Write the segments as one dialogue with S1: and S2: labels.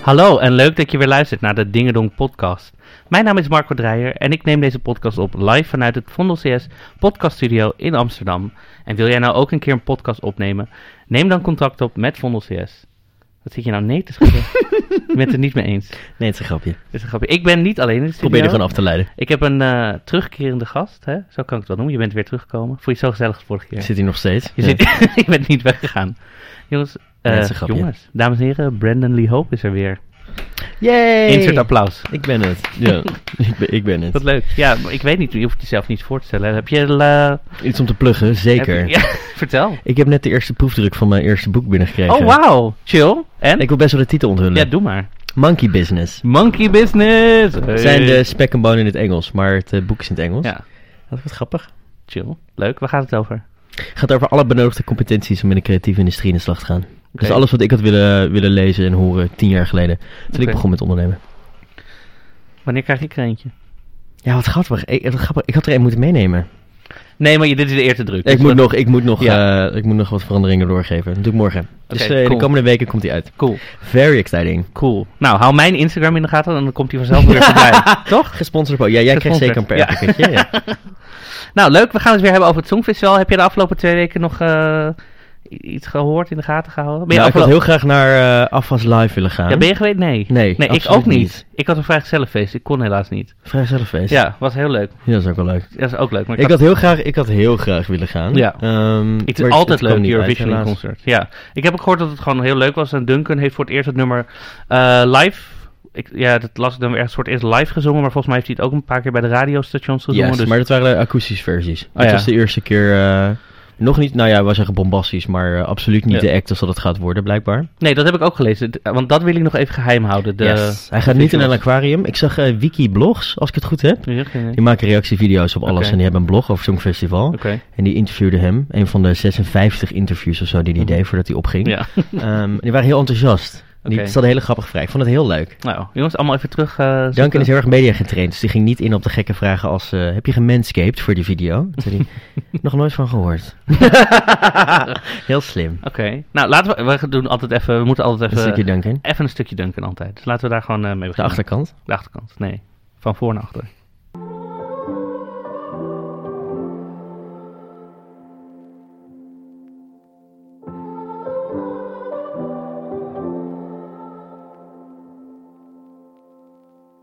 S1: Hallo en leuk dat je weer luistert naar de Dingedong podcast. Mijn naam is Marco Dreyer en ik neem deze podcast op live vanuit het Vondel CS podcaststudio in Amsterdam. En wil jij nou ook een keer een podcast opnemen? Neem dan contact op met Vondel CS. Wat zit je nou nee te schudden? je bent het niet mee eens. Dit
S2: Nee, het is een grapje. Ik
S1: is een grapje. Ik ben niet alleen in de studio.
S2: Probeer er gewoon af te leiden.
S1: Ik heb een eh, terugkerende gast, hè? zo kan ik het wel noemen. Je bent weer teruggekomen. Vond je het zo gezellig als vorige keer?
S2: Ik zit hier nog steeds.
S1: Je
S2: Ja.
S1: zit, ik ben niet weggegaan. Jongens, eh,
S2: dat is een grapje.
S1: jongens, dames en heren, Brandon Lee Hope is er weer.
S2: Yay!
S1: Insert applaus.
S2: Ik ben het. Ja, ik, ben, ik ben
S1: Wat
S2: het.
S1: leuk. Ja, maar ik weet niet, je hoeft jezelf niet voor te stellen. Heb je... la-
S2: Iets om te pluggen, zeker.
S1: heb je- ja, vertel.
S2: Ik heb net de eerste proefdruk van mijn eerste boek binnengekregen.
S1: Oh, wauw. Chill. En?
S2: Ik wil best wel de titel onthullen.
S1: Ja, doe maar.
S2: Monkey Business.
S1: Monkey Business.
S2: Het zijn de spek en bonen in het Engels, maar het eh, boek is in het Engels.
S1: Ja,
S2: Dat wordt grappig.
S1: chill. Leuk. Waar gaat het over?
S2: Het gaat over alle benodigde competenties om in de creatieve industrie in de slag te gaan. Dus
S1: Oké.
S2: alles wat ik had willen, willen lezen en horen tien jaar geleden. Toen ik
S1: Oké.
S2: begon met ondernemen.
S1: Wanneer krijg ik er eentje?
S2: Ja, wat grappig. Ik, wat grappig. ik had er één moeten meenemen.
S1: Nee, maar je- dit is de eerste druk.
S2: Ik
S1: Dus
S2: moet,
S1: dat-
S2: nog, ik, moet nog,
S1: Ja.
S2: eh, ik moet nog wat veranderingen doorgeven. Dat doe ik morgen. dus eh,
S1: cool.
S2: de komende weken komt hij uit.
S1: Cool,
S2: Very exciting.
S1: cool. Nou, hou mijn Instagram in de gaten en dan komt hij vanzelf weer voorbij. Toch?
S2: Gesponsord. Ja, jij krijgt zeker een
S1: Gesponsord, ja.
S2: perkpakketje. Ja.
S1: Nou, leuk. We gaan het weer hebben over het Songfestival. Heb je de afgelopen twee weken nog eh, i- iets gehoord, in de gaten gehouden? Ben je
S2: Nou, ik
S1: afgelo-
S2: had heel graag naar eh Afas Live willen gaan.
S1: Ja, ben je geweest? Nee.
S2: Nee,
S1: nee ik
S2: absoluut
S1: ook niet.
S2: niet.
S1: Ik had een vrijgezellenfeest. Ik kon helaas niet.
S2: Vrij zelffeest.
S1: Ja, was heel leuk.
S2: Ja, dat is ook wel leuk.
S1: Dat is ook leuk. Maar ik,
S2: Ik had heel graag, ik had heel graag willen gaan.
S1: Ja.
S2: Ehm,
S1: het
S2: maar
S1: is altijd
S2: kwam
S1: leuk,
S2: niet uit,
S1: Eurovision in
S2: helaas.
S1: concert. Ja. Ik heb ook gehoord dat het gewoon heel leuk was. En Duncan heeft voor het eerst het nummer eh, live... Ik, ja, dat las ik dan weer ergens voor het eerst live gezongen. Maar volgens mij heeft hij het ook een paar keer bij de radiostations gezongen.
S2: Yes,
S1: dus
S2: maar dat waren de akoestische versies. Het
S1: Oh, ja.
S2: was de eerste keer... eh, nog niet, nou ja, wij zeggen bombastisch, maar eh, absoluut
S1: Ja.
S2: niet de act als dat het gaat worden, blijkbaar.
S1: Nee, dat heb ik ook gelezen. D- Want dat wil ik nog even geheim houden. De...
S2: Yes. Hij gaat niet in een aquarium. Ik zag eh, Wikiblogs, als ik het goed heb.
S1: Ja, geen idee.
S2: Die maken reactievideo's op alles
S1: Oké.
S2: en die hebben een blog over zo'n festival.
S1: Oké.
S2: En die interviewde hem, een van de 56 interviews of zo die hij
S1: Mhm.
S2: deed voordat hij opging.
S1: Ja.
S2: Ehm, die waren heel enthousiast. Die
S1: Oké.
S2: stelden hele grappige vragen. Ik vond het heel leuk.
S1: Nou, jongens, allemaal even terug. eh, zoeken.
S2: Duncan is heel erg media getraind, dus die ging niet in op de gekke vragen als... eh, heb je gemanscaped voor die video? Toen zei hij, nog nooit van gehoord. heel slim.
S1: Oké. Nou, laten we. We doen altijd even. We moeten altijd
S2: Een
S1: even.
S2: stukje Duncan.
S1: Even een stukje dunken altijd. Dus laten we daar gewoon eh, mee
S2: De
S1: beginnen.
S2: achterkant.
S1: De achterkant. Nee. Van voor naar achter.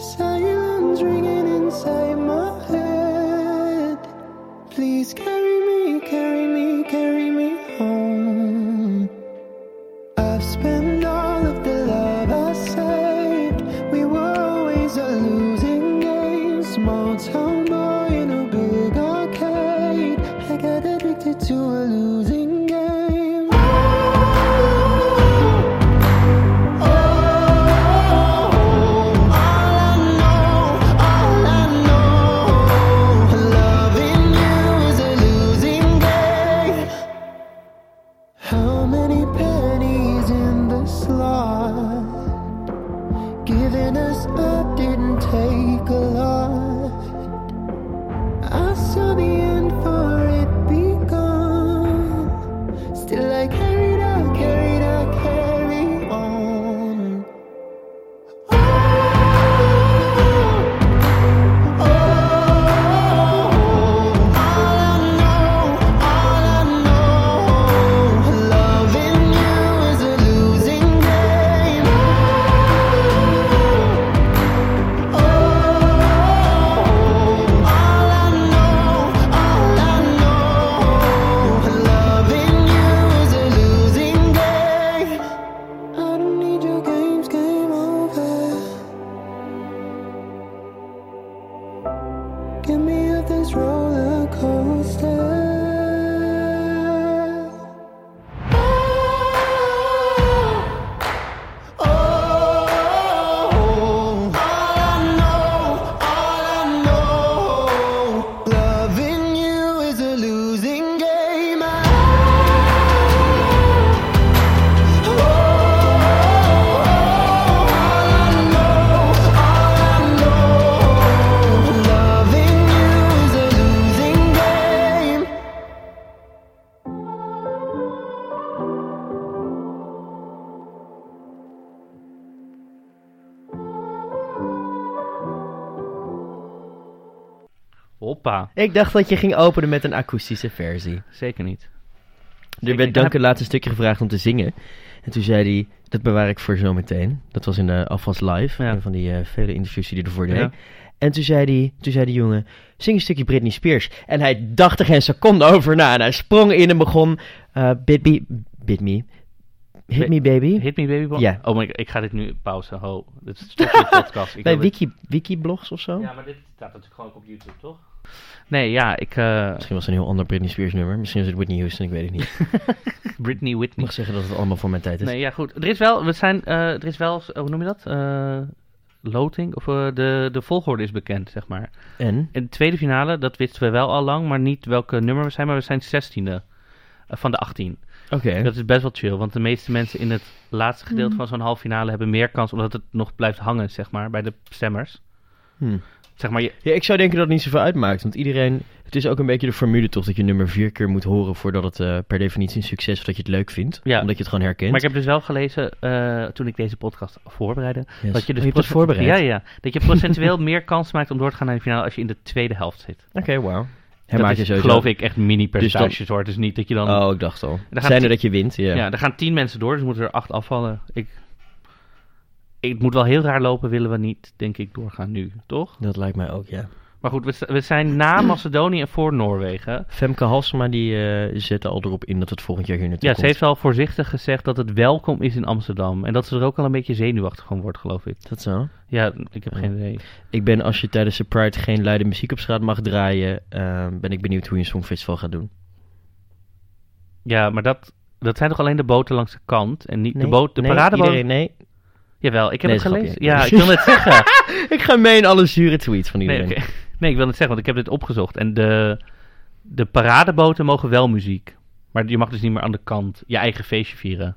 S3: Sirens ringing inside my head. Please carry me, carry me, carry me home. I've spent all of the love I saved. We were always a losing game. Small town boy in a big arcade. I got addicted to a losing game. Oh, How many pennies in the slot? Giving us up didn't take a lot. I saw the end for it begun. Still, I carried on, carried on, carry on. Loving you is a losing game. Oh, oh,
S1: Hoppa.
S2: Ik dacht dat je ging openen met een akoestische versie.
S1: Zeker niet.
S2: Er werd Duncan het laatste stukje gevraagd om te zingen. En toen zei hij, dat bewaar ik voor zometeen. Dat was in de Afwas Live,
S1: Ja.
S2: een van die eh, vele interviews die hij ervoor deed.
S1: Ja.
S2: En toen zei, hij, toen zei die jongen, zing een stukje Britney Spears. En hij dacht er geen seconde over na. En hij sprong in en begon, eh bit me, bit me, hit me baby.
S1: Hit me baby boy.
S2: Ja.
S1: Oh my god, ik ga dit nu pauze. Ho, dit is een stukje podcast. Ik
S2: Bij
S1: wil dit-
S2: Wiki, Wikiblogs of zo?
S1: Ja, maar dit staat natuurlijk gewoon ook op YouTube, toch? Nee, ja, ik... eh,
S2: Misschien was het een heel ander Britney Spears nummer. Misschien was het Whitney Houston, ik weet het niet. Ik
S1: Britney Whitney.
S2: mag zeggen dat het allemaal voor mijn tijd is.
S1: Nee, ja, goed. Er is wel, we zijn, eh, er is wel, hoe noem je dat? Eh, loting? Of eh, de, de volgorde is bekend, zeg maar.
S2: En?
S1: In de tweede finale, dat wisten we wel al lang, maar niet welke nummer we zijn, maar we zijn 16e eh, van de 18.
S2: Oké.
S1: Dat is best wel chill, want de meeste mensen in het laatste gedeelte van zo'n halve finale hebben meer kans, omdat het nog blijft hangen, zeg maar, bij de stemmers.
S2: Hmm.
S1: Zeg maar, je,
S2: Ja, ik zou denken dat het niet zoveel uitmaakt. Want iedereen. Het is ook een beetje de formule toch dat je nummer vier keer moet horen voordat het eh, per definitie een succes is of dat je het leuk vindt.
S1: Ja.
S2: Omdat je het gewoon herkent.
S1: maar ik heb dus wel gelezen, eh, toen ik deze podcast voorbereidde,
S2: Yes.
S1: dat je dus
S2: Oh, je hebt het
S1: procent-
S2: voorbereid.
S1: Ja, ja, dat je procentueel meer kans maakt om door te gaan naar de finale als je in de tweede helft zit.
S2: Oké, wauw. Hij
S1: Dat
S2: maakt je
S1: is,
S2: sowieso. Dus
S1: geloof ik, echt mini-percentages hoor. Het is niet dat je dan...
S2: Oh, ik dacht al.
S1: gaat
S2: Zijn er
S1: die-
S2: dat je wint? Ja.
S1: ja. er gaan tien mensen door, dus moeten er acht afvallen. Ik, ik moet wel heel raar lopen, willen we niet, denk ik, doorgaan nu, toch?
S2: Dat lijkt mij ook, ja.
S1: Maar goed, we, sta- we zijn na Macedonië en voor Noorwegen.
S2: Femke Halsema die eh, zette al erop in dat het volgend jaar hier naartoe
S1: Ja, ze
S2: komt.
S1: heeft al voorzichtig gezegd dat het welkom is in Amsterdam. En dat ze er ook al een beetje zenuwachtig van wordt, geloof ik.
S2: Dat zo.
S1: Ja, ik heb geen idee.
S2: Ik ben, als je tijdens de Pride geen luide muziek op straat mag draaien, eh, ben ik benieuwd hoe je een songfestival gaat doen.
S1: Ja, maar dat, dat zijn toch alleen de boten langs de kant en niet de, boot, de
S2: nee,
S1: paradeboot?
S2: iedereen, nee.
S1: Jawel, ik heb
S2: Nee,
S1: het
S2: dat
S1: gelezen.
S2: grapje.
S1: Ja, ik wil net zeggen.
S2: Ik ga mee in alle zure tweets van
S1: Nee,
S2: iedereen.
S1: oké. nee, ik wil het zeggen, want ik heb dit opgezocht. En de, de paradeboten mogen wel muziek. Maar je mag dus niet meer aan de kant je eigen feestje vieren.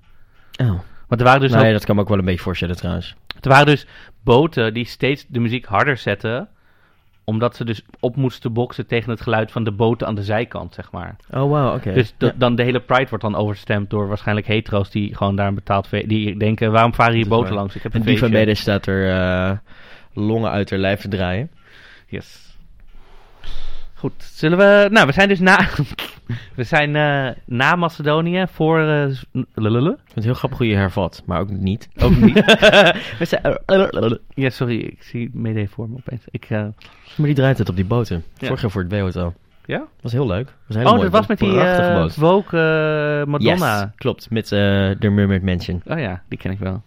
S2: Oh.
S1: Want er waren dus,
S2: nee,
S1: ook-
S2: dat kan me ook wel een beetje voorstellen trouwens.
S1: er waren dus boten die steeds de muziek harder zetten. Omdat ze dus op moesten boksen tegen het geluid van de boten aan de zijkant, zeg maar.
S2: Oh, wauw, oké.
S1: Dus dat- dan de hele Pride wordt dan overstemd door waarschijnlijk hetero's die gewoon daar een betaald feest... Die denken, waarom varen hier
S2: Dat is
S1: boten
S2: waar.
S1: langs? Ik heb een
S2: en die
S1: feestje.
S2: van beneden staat er eh, longen uit haar lijf te draaien.
S1: Yes. Goed, zullen we... Nou, we zijn dus na... we zijn eh, na Macedonië voor... eh, z- lululul.
S2: Ik vind het heel grappig hoe je hervat, maar ook niet.
S1: Ook niet.
S2: We zijn-
S1: ja, sorry, ik zie Mede voor me opeens. Ik, eh,
S2: Maar die draait het op die boten.
S1: Ja.
S2: Vorig jaar voor het B-hotel.
S1: ja?
S2: Was heel leuk. Was heel
S1: Oh, dat oh, was met die
S2: prachtige
S1: eh
S2: boot.
S1: woke eh, Madonna.
S2: Yes, klopt. Met eh The Mermaid Mansion.
S1: Oh ja, die ken ik wel.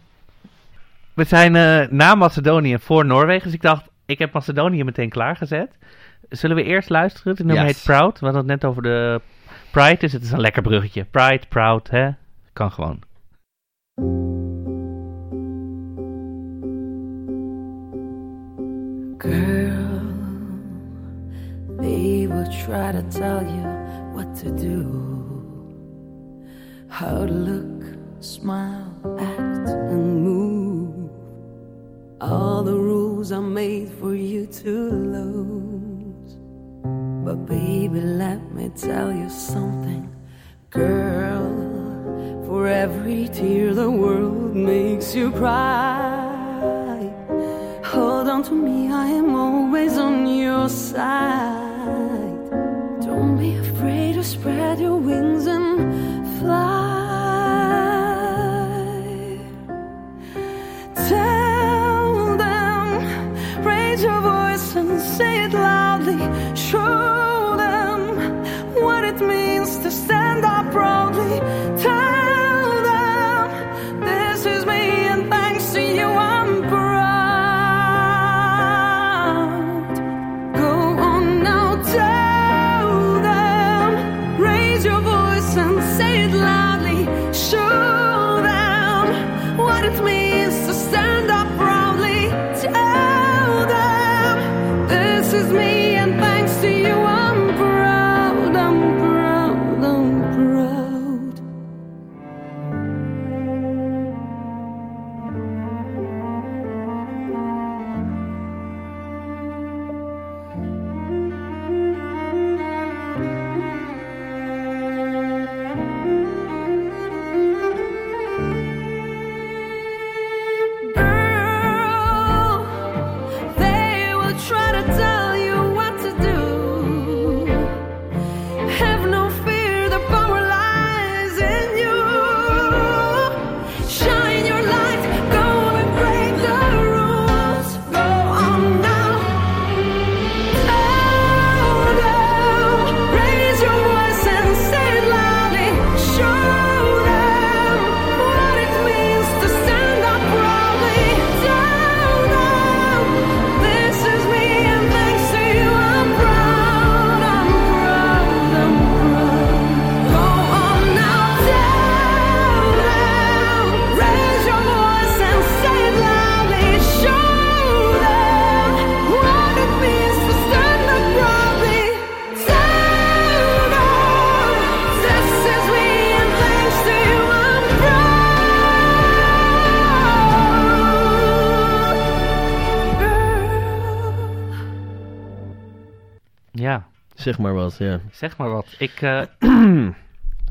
S1: We zijn eh, na Macedonië voor Noorwegen. Dus ik dacht, ik heb Macedonië meteen klaargezet. Zullen we eerst luisteren? Het nummer
S2: Yes.
S1: heet Proud. We hadden het net over de Pride. Dus het is een lekker bruggetje. Pride, Proud, hè? Kan gewoon.
S4: Girl, they will try to tell you what to do, how to look, smile, act, and move. All the rules are made for you to lose. But, baby, let me tell you something, girl. For every tear the world makes you cry. Hold on to me, I am always on your side. Don't be afraid to spread your wings and fly. Tell them, raise your voice and say it loudly. Show them what it means to stand up proudly. Tell them, this is me, and thanks to you, I'm proud. Go on now, tell them, raise your voice
S2: zeg maar wat, ja.
S1: Zeg maar wat. Ik, eh,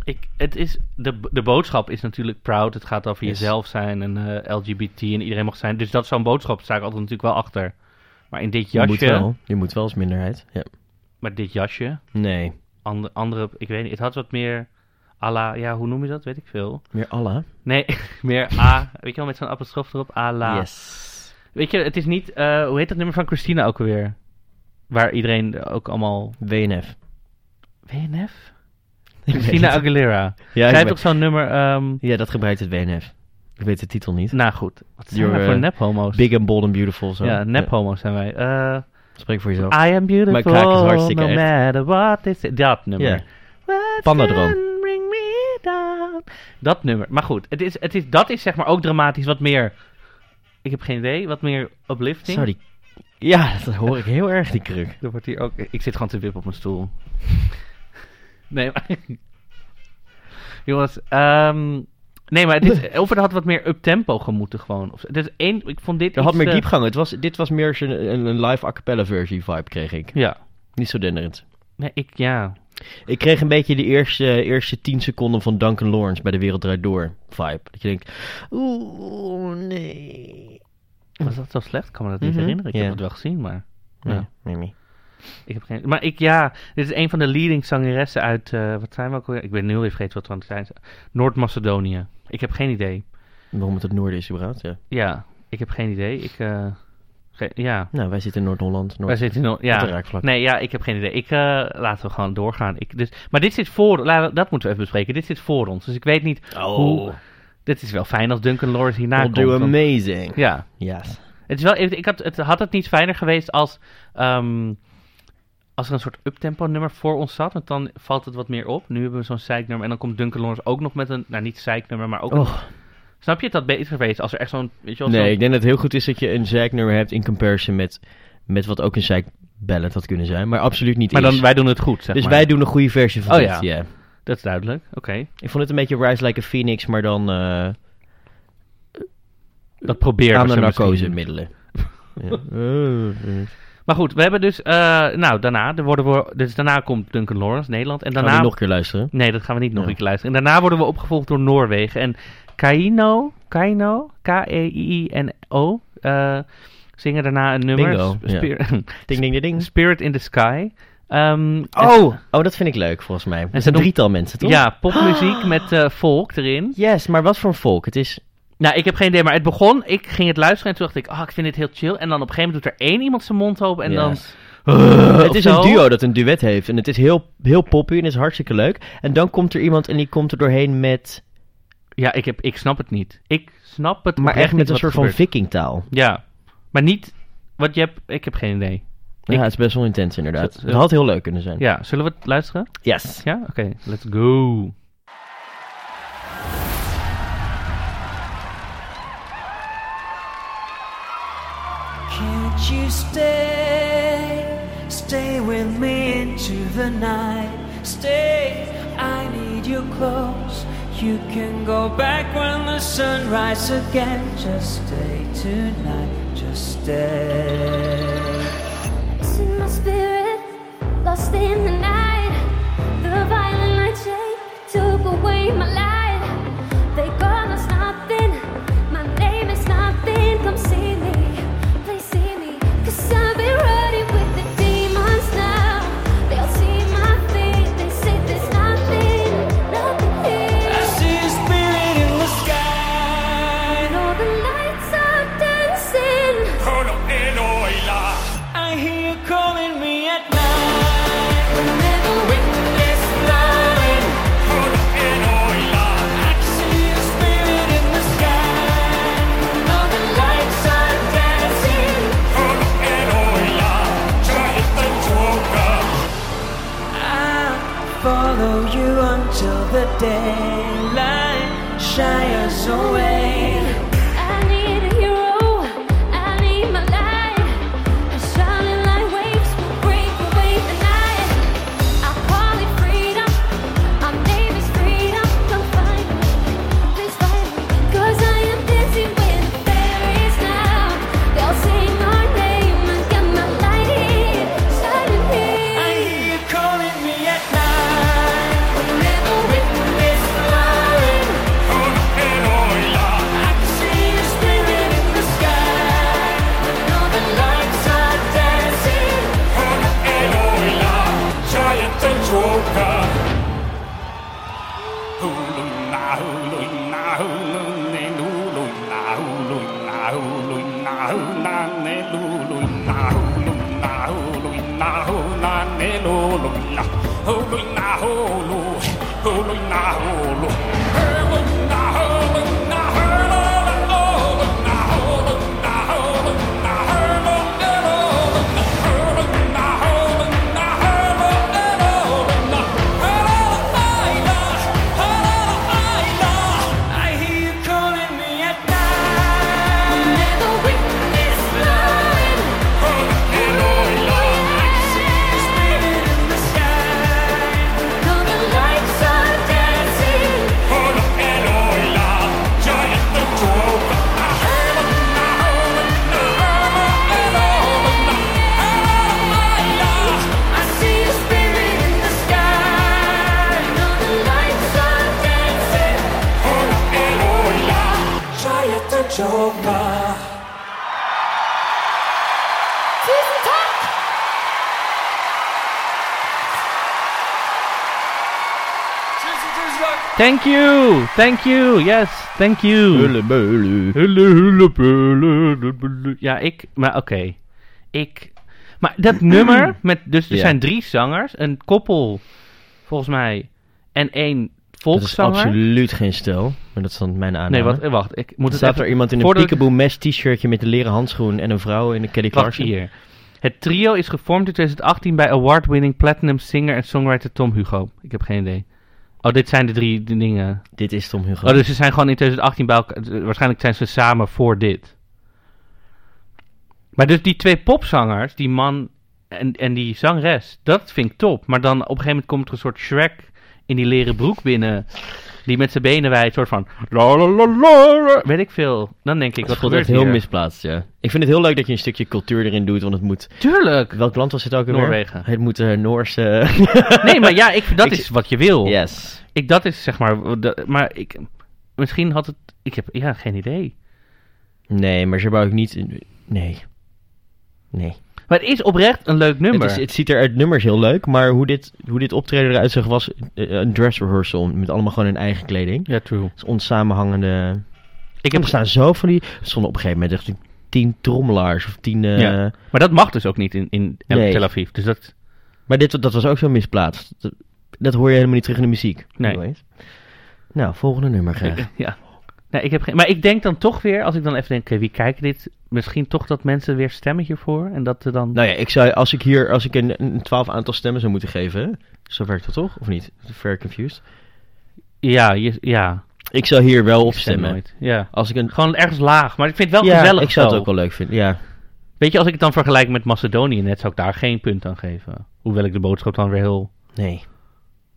S1: ik, het is, de, de boodschap is natuurlijk proud. Het gaat over
S2: Yes.
S1: jezelf zijn en eh, LGBT en iedereen mag zijn. Dus dat is zo'n boodschap. Sta ik altijd natuurlijk wel achter. Maar in dit
S2: Je moet
S1: jasje,
S2: wel, je moet wel als minderheid. Ja.
S1: maar dit jasje,
S2: Nee,
S1: and- andere, ik weet niet, het had wat meer à la, ja, hoe noem je dat? Weet ik veel.
S2: meer Allah.
S1: Nee, meer A, weet je wel, met zo'n apostrof erop, à
S2: Ah.
S1: la.
S2: Yes.
S1: Weet je, het is niet, eh, hoe heet dat nummer van Christina ook alweer? Waar iedereen ook allemaal,
S2: WNF.
S1: WNF?
S2: Ik weet
S1: Christina
S2: het.
S1: Aguilera.
S2: ja, ik
S1: Zij heeft
S2: weet-
S1: ook zo'n nummer, ehm,
S2: ja, dat gebruikt het WNF. Ik weet de titel niet.
S1: Nou goed, wat zijn
S2: Your,
S1: wij voor
S2: eh,
S1: nephomo's?
S2: Big and bold and beautiful. Zo.
S1: ja, nephomo's zijn wij. Eh,
S2: Ja, Ah, Spreek voor jezelf.
S1: I am beautiful,
S2: kraak is hartstikke
S1: no
S2: echt.
S1: matter what they say. Dat nummer.
S2: Ja.
S1: What
S2: Pandadroom.
S1: can bring me down. Dat nummer. Maar goed, het is, het is, dat is zeg maar ook dramatisch wat meer... Ik heb geen idee, wat meer uplifting.
S2: Zou die... Ja, dat hoor ik heel erg, die kruk.
S1: Er wordt hier ook... Ik zit gewoon te wippen op mijn stoel. nee, maar... Jongens, ehm, Nee, maar het is, of het had wat meer uptempo gemoeten gewoon. Of, zo. dus één, ik vond dit
S2: Er had
S1: iets
S2: meer
S1: te-
S2: diepgang. Het was, dit was meer zo'n- een, een live a cappella versie vibe, kreeg ik.
S1: Ja.
S2: Niet zo denderend.
S1: Nee, ik, ja.
S2: Ik kreeg een beetje de eerste, eerste 10 seconden van Duncan Lawrence bij de Wereld Draait Door vibe. Dat je denkt, oeh, nee.
S1: Was dat zo slecht? Ik kan me dat niet
S2: Hm. Mhm.
S1: herinneren. Ik
S2: Ja.
S1: heb het wel gezien, maar...
S2: Nee,
S1: Ja.
S2: Mimi.
S1: Ik heb geen... Maar ik, ja, dit is een van de leading zangeressen uit... eh, wat zijn we ook alweer? Ik ben nu heel even vergeten wat we aan het zijn. Noord-Macedonië. Ik heb geen idee.
S2: Waarom het het noorden is überhaupt, ja.
S1: Ja, ik heb geen idee. Ik, eh, ge- ja,
S2: Nou, wij zitten in Noord-Holland. Noord
S1: wij zitten nog... Ja.
S2: op de raakvlak.
S1: Nee, ja, ik heb geen idee. Ik, eh, laten we gewoon doorgaan. Ik, dus, maar dit zit voor... la- Dat moeten we even bespreken. Dit zit voor ons. Dus ik weet niet... Hoe- Dit is wel fijn als Duncan Lawrence hierna
S2: Oh. We'll
S1: komt.
S2: do
S1: want-
S2: amazing.
S1: Ja.
S2: Yes.
S1: Het, is wel, ik ik had, het had het niet fijner geweest als, ehm, als er een soort uptempo nummer voor ons zat. Want dan valt het wat meer op. Nu hebben we zo'n zeiknummer. En dan komt Duncan Lawrence ook nog met een, nou niet zeiknummer, maar ook... een-
S2: Oh.
S1: Snap je het had beter geweest als er echt zo'n... Weet je wel,
S2: Nee,
S1: zo'n-
S2: ik denk dat het heel goed is dat je een zeiknummer hebt in comparison met, met wat ook een zeikballet had kunnen zijn. Maar absoluut niet
S1: maar
S2: is.
S1: dan, wij doen het goed, zeg
S2: dus
S1: maar.
S2: wij doen een goede versie van
S1: Oh
S2: dit,
S1: ja. Dat is duidelijk, oké.
S2: Ik vond het een beetje Rise Like a Phoenix, maar dan eh
S1: Dat proberen
S2: aan
S1: we
S2: de
S1: ze misschien.
S2: narcose-middelen. ja. Oh, Eh, eh.
S1: Maar goed, we hebben dus... eh, nou, daarna, er worden we, dus daarna komt Duncan Lawrence, Nederland. En
S2: Gaan
S1: daarna...
S2: we nog een keer luisteren?
S1: Nee, dat gaan we niet nog
S2: Ja.
S1: een keer luisteren. En daarna worden we opgevolgd door Noorwegen. En Kaino, Kaino, E K-E-I-I-N-O, eh, zingen daarna een nummer.
S2: Bingo,
S1: Sp-
S2: ja.
S1: Spirit-
S2: Ding, ding, ding, ding.
S1: Spirit in the Sky. Ehm,
S2: Oh! Oh, dat vind ik leuk, volgens mij. Het
S1: ze
S2: zijn
S1: doen-
S2: drietal mensen, toch?
S1: Ja, popmuziek met eh, folk erin.
S2: Yes, maar wat voor een volk? Het is...
S1: Nou, ik heb geen idee, maar het begon. Ik ging het luisteren en toen dacht ik, ah, ik vind dit heel chill. En dan op een gegeven moment doet er één iemand zijn mond open en dan... Eh,
S2: Yes. het
S1: of
S2: is
S1: zo.
S2: een duo dat een duet heeft. En het is heel, heel poppy en is hartstikke leuk. En dan komt er iemand en die komt er doorheen met...
S1: Ja, ik, heb, ik snap het niet. Ik snap het
S2: Maar
S1: oprecht
S2: echt
S1: niet
S2: met een
S1: wat er
S2: soort van
S1: gebeurt.
S2: vikingtaal.
S1: Ja, maar niet... Wat je hebt... Ik heb geen idee. Ik-
S2: Ja, het is best wel intens inderdaad.
S1: Zo-
S2: Het had heel leuk kunnen zijn.
S1: Ja, zullen we het luisteren?
S2: Yes.
S1: Ja? Oké, let's go.
S5: Can't you stay? Stay with me into the night. Stay, I need you close. You can go back when the sun rises again. Just stay tonight, just stay.
S4: Lost in my spirit, lost in the night. The violent light shade took away my light. They call us nothing, my name is nothing. Come see me, please see me. Cause I've been running with the demons now. They all see my feet, they say there's nothing, nothing
S5: I
S4: here.
S5: see a spirit in the sky.
S4: And all the lights are dancing.
S5: I hear you calling me at night. Whenever wind is blowing, I can see a spirit in the sky. All the lights are dancing. I'll follow you until the daylight shines away.
S4: I need a hero, I need my light. A shining light waves will break away the night. I call it freedom, my name is freedom. Come find me, please find me. 'Cause I am dancing with the fairies now. They'll say my name and get my light here, shining
S5: I
S4: here.
S5: hear you calling.
S6: I hear you calling me at night. Never witness love. Oh, love. I see you spinning in the sky. Now the lights are dancing. Oh, look at all love. Joy at the door. I heard it. I heard it. I I see you spinning in the sky. Now the lights are dancing.
S4: Tusen takk!
S6: Tusen, tusen dank.
S1: Thank you! Thank you! Yes, thank you! Hulle, hulle, pulle, de, pulle. Ja, ik... Maar oké. Ik... Maar dat nummer... Met, dus er
S2: Ja.
S1: zijn drie zangers. Een koppel, volgens mij. En één
S2: Dat is
S1: volkszanger.
S2: absoluut geen stel, maar dat is dan mijn aanname.
S1: Nee, wat, eh, wacht. Ik moet het
S2: Staat
S1: even-
S2: er iemand in een
S1: voordat ik-
S2: peekaboo mesh t-shirtje met een leren handschoen en een vrouw in een Kelly
S1: Wacht
S2: Clarkson?
S1: hier. Het trio is gevormd in 2018 bij award-winning platinum singer en songwriter Tom Hugo. Ik heb geen idee. Oh, dit zijn de drie de dingen.
S2: Dit is Tom Hugo.
S1: Oh, dus ze zijn gewoon in 2018 bij elkaar. eh, Waarschijnlijk zijn ze samen voor dit. Maar dus die twee popzangers, die man en, en die zangres, dat vind ik top. Maar dan op een gegeven moment komt er een soort Shrek in die leren broek binnen. Die met zijn benen wijd, soort van. La, la, la, la, la, weet ik veel. Dan denk ik,
S2: dat
S1: wat
S2: voelt
S1: gebeurt
S2: echt heel
S1: hier?
S2: misplaatst, ja. Ik vind het heel leuk dat je een stukje cultuur erin doet, want het moet...
S1: Tuurlijk!
S2: Welk land was dit ook alweer?
S1: Noorwegen.
S2: Het moet eh, Noorse...
S1: Nee, maar ja, ik, dat
S2: Ik-
S1: is wat je wil.
S2: yes.
S1: Ik, dat is zeg maar. w- dat- Maar ik. Misschien had het. Ik heb. Ja, geen idee.
S2: Nee, maar ze wou ik niet... Nee. Nee.
S1: Maar het is oprecht een leuk nummer.
S2: Het, is, het ziet er uit nummers heel leuk, maar hoe dit, hoe dit optreden eruit zag was eh, een dress rehearsal met allemaal gewoon hun eigen kleding.
S1: Ja, true.
S2: Het is onsamenhangende...
S1: Ik
S2: Ik heb
S1: heb,
S2: gestaan zo van die... Er stonden op een gegeven moment echt tien trommelaars of tien... eh,
S1: Ja. maar dat mag dus ook niet in, in El-
S2: Nee.
S1: Tel Aviv. Dus dat.
S2: Maar dit, dat was ook zo misplaatst. Dat, dat hoor je helemaal niet terug in de muziek.
S1: Nee.
S2: Anyways. Nou, volgende nummer graag.
S1: Ja. Nee, ik heb geen, maar ik denk dan toch weer, als ik dan even denk, oké, wie kijkt dit? Misschien toch dat mensen weer stemmen hiervoor. En dat er dan.
S2: Nou ja, ik zou, als ik hier als ik een, een 12 aantal stemmen zou moeten geven... hè? Zo werkt dat toch? Of niet? Fair confused.
S1: Ja, je, ja.
S2: Ik zou hier wel op
S1: Ik stem
S2: stemmen.
S1: nooit. Ja.
S2: Als ik een...
S1: Gewoon ergens laag. Maar ik vind het wel
S2: ja,
S1: gezellig.
S2: ik zou het
S1: zo.
S2: ook wel leuk vinden. Ja,
S1: Weet je, als ik het dan vergelijk met Macedonië net, zou ik daar geen punt aan geven. Hoewel ik de boodschap dan weer heel
S2: nee.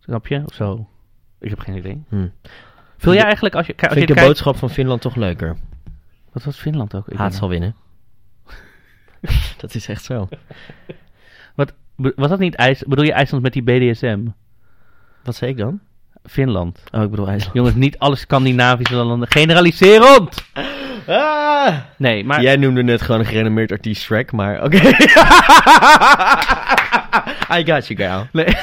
S1: Snap je? Of zo. Ik heb geen idee.
S2: Hm.
S1: Vul jij eigenlijk als je, als je
S2: Vind ik de
S1: kijkt...
S2: boodschap van Finland toch leuker.
S1: Wat was Finland ook? Ik
S2: Haat
S1: weet
S2: zal winnen. dat is echt zo.
S1: niet. Wat, be- was dat niet IJs? Bedoel je IJsland met die BDSM?
S2: Wat zei ik dan?
S1: Finland.
S2: Oh, ik bedoel IJsland.
S1: Jongens, niet alle Scandinavische landen. Generaliserend!
S2: Ah!
S1: Nee, maar...
S2: Jij noemde net gewoon een gerenommeerd artiest Shrek, maar oké. I got you, girl.
S1: Nee.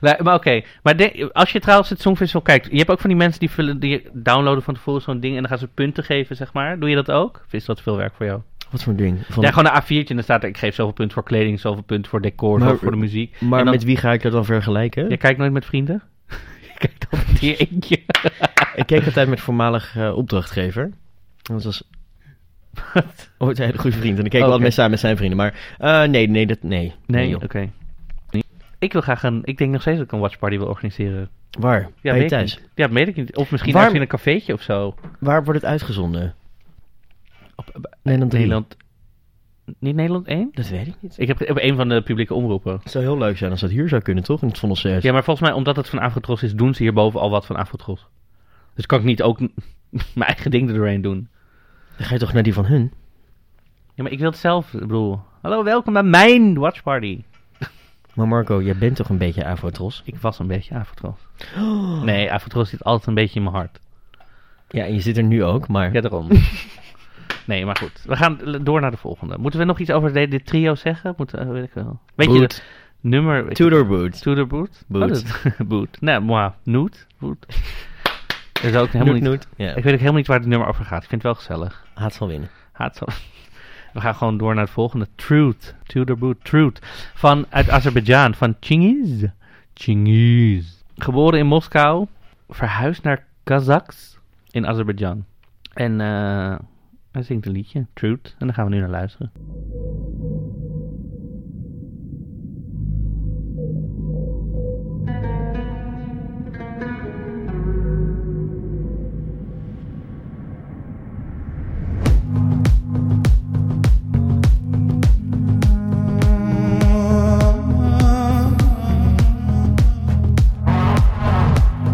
S1: Nee, maar oké. Maar denk- als je trouwens het Songfestival kijkt... Je hebt ook van die mensen die, vullen, die downloaden van tevoren zo'n ding... en dan gaan ze punten geven, zeg maar. Doe je dat ook? Of is dat veel werk voor jou?
S2: Wat voor ding? Van-
S1: Ja, gewoon een A4'tje en dan staat er... Ik geef zoveel punten voor kleding, zoveel punten voor decor, zoveel voor de muziek.
S2: Maar
S1: En dan-
S2: met wie ga ik dat dan vergelijken?
S1: Je kijkt nooit met vrienden? Je kijkt altijd met je eentje.
S2: Ik keek altijd met voormalig eh, opdrachtgever. En Dat was ooit een hele goede vriend. En ik keek
S1: Oké.
S2: altijd mee samen met zijn vrienden. Maar eh, nee, nee, dat, Oh, nee.
S1: Nee,
S2: joh.
S1: oké. Ik wil graag een... Ik denk nog steeds dat ik een watchparty wil organiseren.
S2: Waar? Bij je
S1: weet ik
S2: thuis?
S1: niet. Ja, weet ik niet. Of misschien
S2: Waar-
S1: ergens in een cafeetje of zo.
S2: Waar wordt het uitgezonden? Op eh, Nederland 3.
S1: Nederland... Niet Nederland 1?
S2: Dat weet ik niet.
S1: Ik heb op een van de publieke omroepen.
S2: Het zou heel leuk zijn als dat hier zou kunnen, toch? In het Vondel CS.
S1: Ja, maar volgens mij, omdat het van Afrotros is, doen ze hierboven al wat van Afrotros. Dus kan ik niet ook n- mijn eigen ding er doorheen doen.
S2: Dan ga je toch naar die van hun?
S1: Ja, maar ik wil het zelf. Ik bedoel, hallo, welkom bij mijn watchparty.
S2: Maar Marco, jij bent toch een beetje afrotros?
S1: Ik was een beetje Afrotros. Nee, Afrotros zit altijd een beetje in mijn hart.
S2: Ja, en je zit er nu ook, maar...
S1: Ja, daarom. nee, maar goed. We gaan l- door naar de volgende. Moeten we nog iets over de- dit trio zeggen? Moeten, eh, weet ik wel. Weet je, het
S2: Boot.
S1: nummer... weet je-
S2: Tudor Boot.
S1: Tudor Boot?
S2: Boot.
S1: Oh, dat- boot. Nee, moi. Noot. Boot. Dat is ook helemaal niet...
S2: Ja,
S1: Ik weet ook helemaal niet waar het nummer over gaat. Ik vind het wel gezellig.
S2: haat zal winnen.
S1: Haat zo. Oké, We gaan gewoon door naar het volgende. Truth. Tudor Boot. Truth. Van, uit Azerbeidzjan. Van Chingiz. Chingiz. Geboren in Moskou. Verhuisd naar Kazaks in Azerbeidzjan. En eh, hij zingt een liedje. Truth. En daar gaan we nu naar luisteren.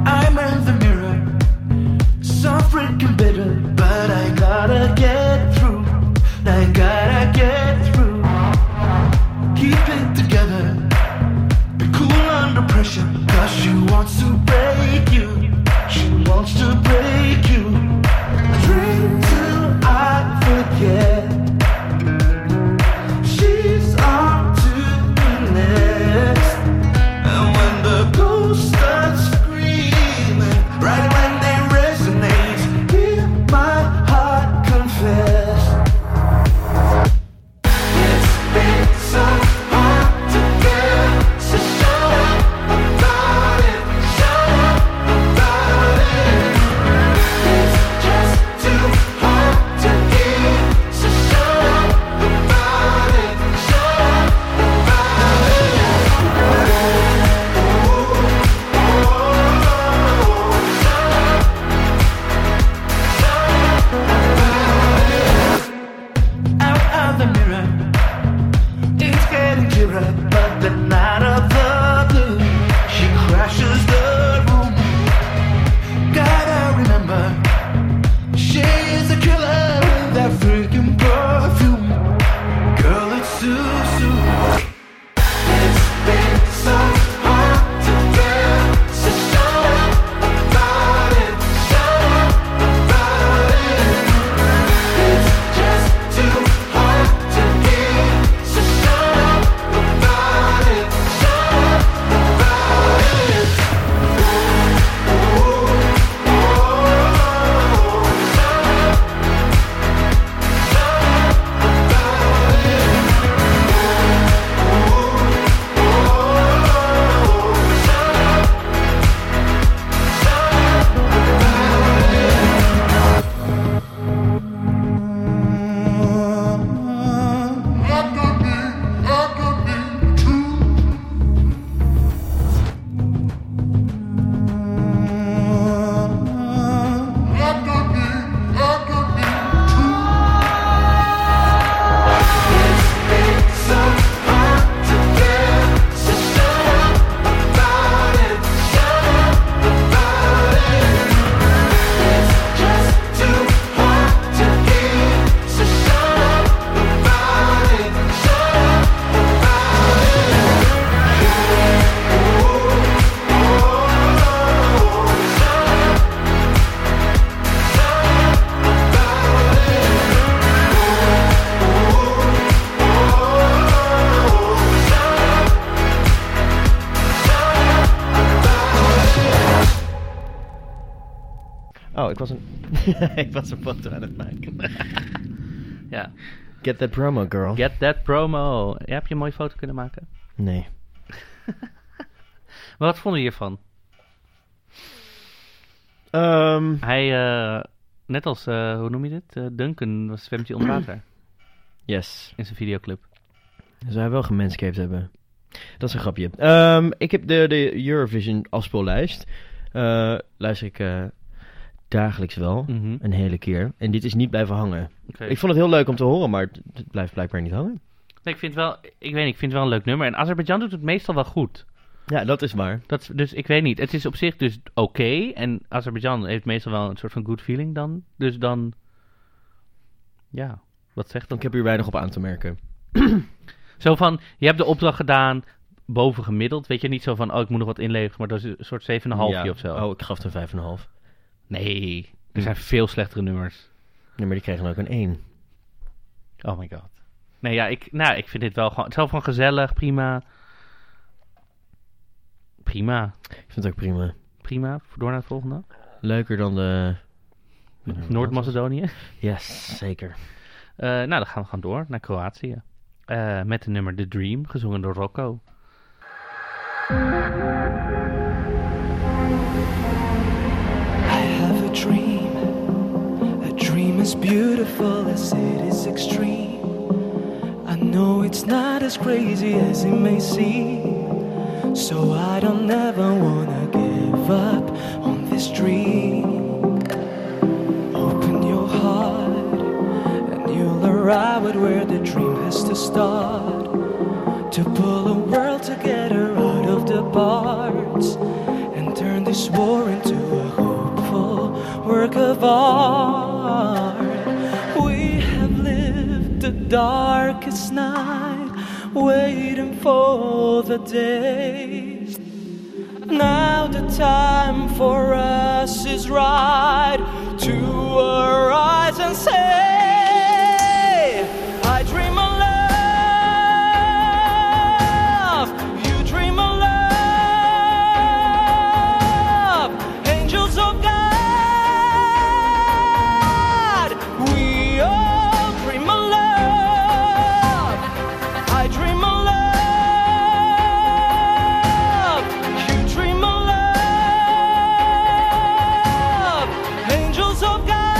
S7: I'm in the mirror, so freaking bitter, but I gotta get through. I gotta get through. Keep it together, be cool under pressure, cause she wants to break you. She wants to break you. Drink till I forget. She's on to the next. And when the ghost starts screaming, right when they resonate, hear my heart confess. It's been so hard to get, so shut up about it, shut up about it. It's just too hard to give, so shut up about it, shut up about it. out of the mirror. It's getting clearer, but then out of the blue, she crashes the room. Gotta remember, she's a killer with that freaking perfume. Girl, it's too soon. It's been so hard to bear, so shut up about it, shut up about it. It's just too hard to hear, so shut up about it, shut up about it. So hard to bear, so shut up about it, shut up about it. It's just too hard to give, so shut up about it, shut up about it.
S2: Oh, ik was een, ik was een foto aan het maken.
S1: Ja.
S2: Get that promo, girl.
S1: Get that promo. Ja, heb je een mooie foto kunnen maken?
S2: Nee.
S1: Maar wat vonden we hiervan?
S2: Ehm,
S1: Hij, eh, net als, eh, hoe noem je dit? Eh, Duncan was zwemt hij onder water
S2: yes.
S1: in zijn videoclip.
S2: Zou hij wel gemanscaped hebben? Dat is een grapje. Ehm, ik heb de, de Eurovision afspeellijst. Eh, luister ik eh, dagelijks wel.
S1: Mhm.
S2: Een hele keer. En dit is niet blijven hangen.
S1: Oké.
S2: Ik vond het heel leuk om te horen, maar het, het blijft blijkbaar niet hangen.
S1: Nee, ik vind het wel, ik weet niet, ik vind het wel een leuk nummer. En Azerbeidzjan doet het meestal wel goed.
S2: Ja, dat is waar.
S1: Dat is, dus ik weet niet. Het is op zich dus oké. en Azerbeidzjan heeft meestal wel een soort van good feeling dan. Dus dan, ja, wat zegt dat?
S2: Ik heb hier weinig op aan te merken.
S1: Zo van, je hebt de opdracht gedaan boven gemiddeld. Weet je, niet zo van, oh, ik moet nog wat inleveren. Maar dat is een soort 7,5
S2: Ja.
S1: of zo.
S2: Oh, ik gaf het een 5,5.
S1: Nee, er zijn veel slechtere nummers.
S2: Nee, maar die kregen ook een 1.
S1: Oh my god. Nee, ja, ik, nou, ik vind dit wel gewoon... Het is wel van gezellig, prima. Prima.
S2: Ik vind het ook prima.
S1: Prima. Door naar het volgende.
S2: Leuker dan de...
S1: Noord-Macedonië.
S2: Yes, zeker.
S1: Eh, nou, dan gaan we gaan door naar Kroatië. Eh, met de nummer The Dream, gezongen door Rocco.
S7: I have a dream. A dream as beautiful as it is extreme. I know it's not as crazy as it may seem. So I don't ever wanna give up on this dream. Open your heart, and you'll arrive at where the dream has to start. To pull a world together out of the parts and turn this war into a hopeful work of art. We have lived the darkest night, waiting for the day. Now the time for us is right to arise and say, I dream of love, you dream of love, angels of God, we all dream of love. I dream of love. You dream of love. Angels of God.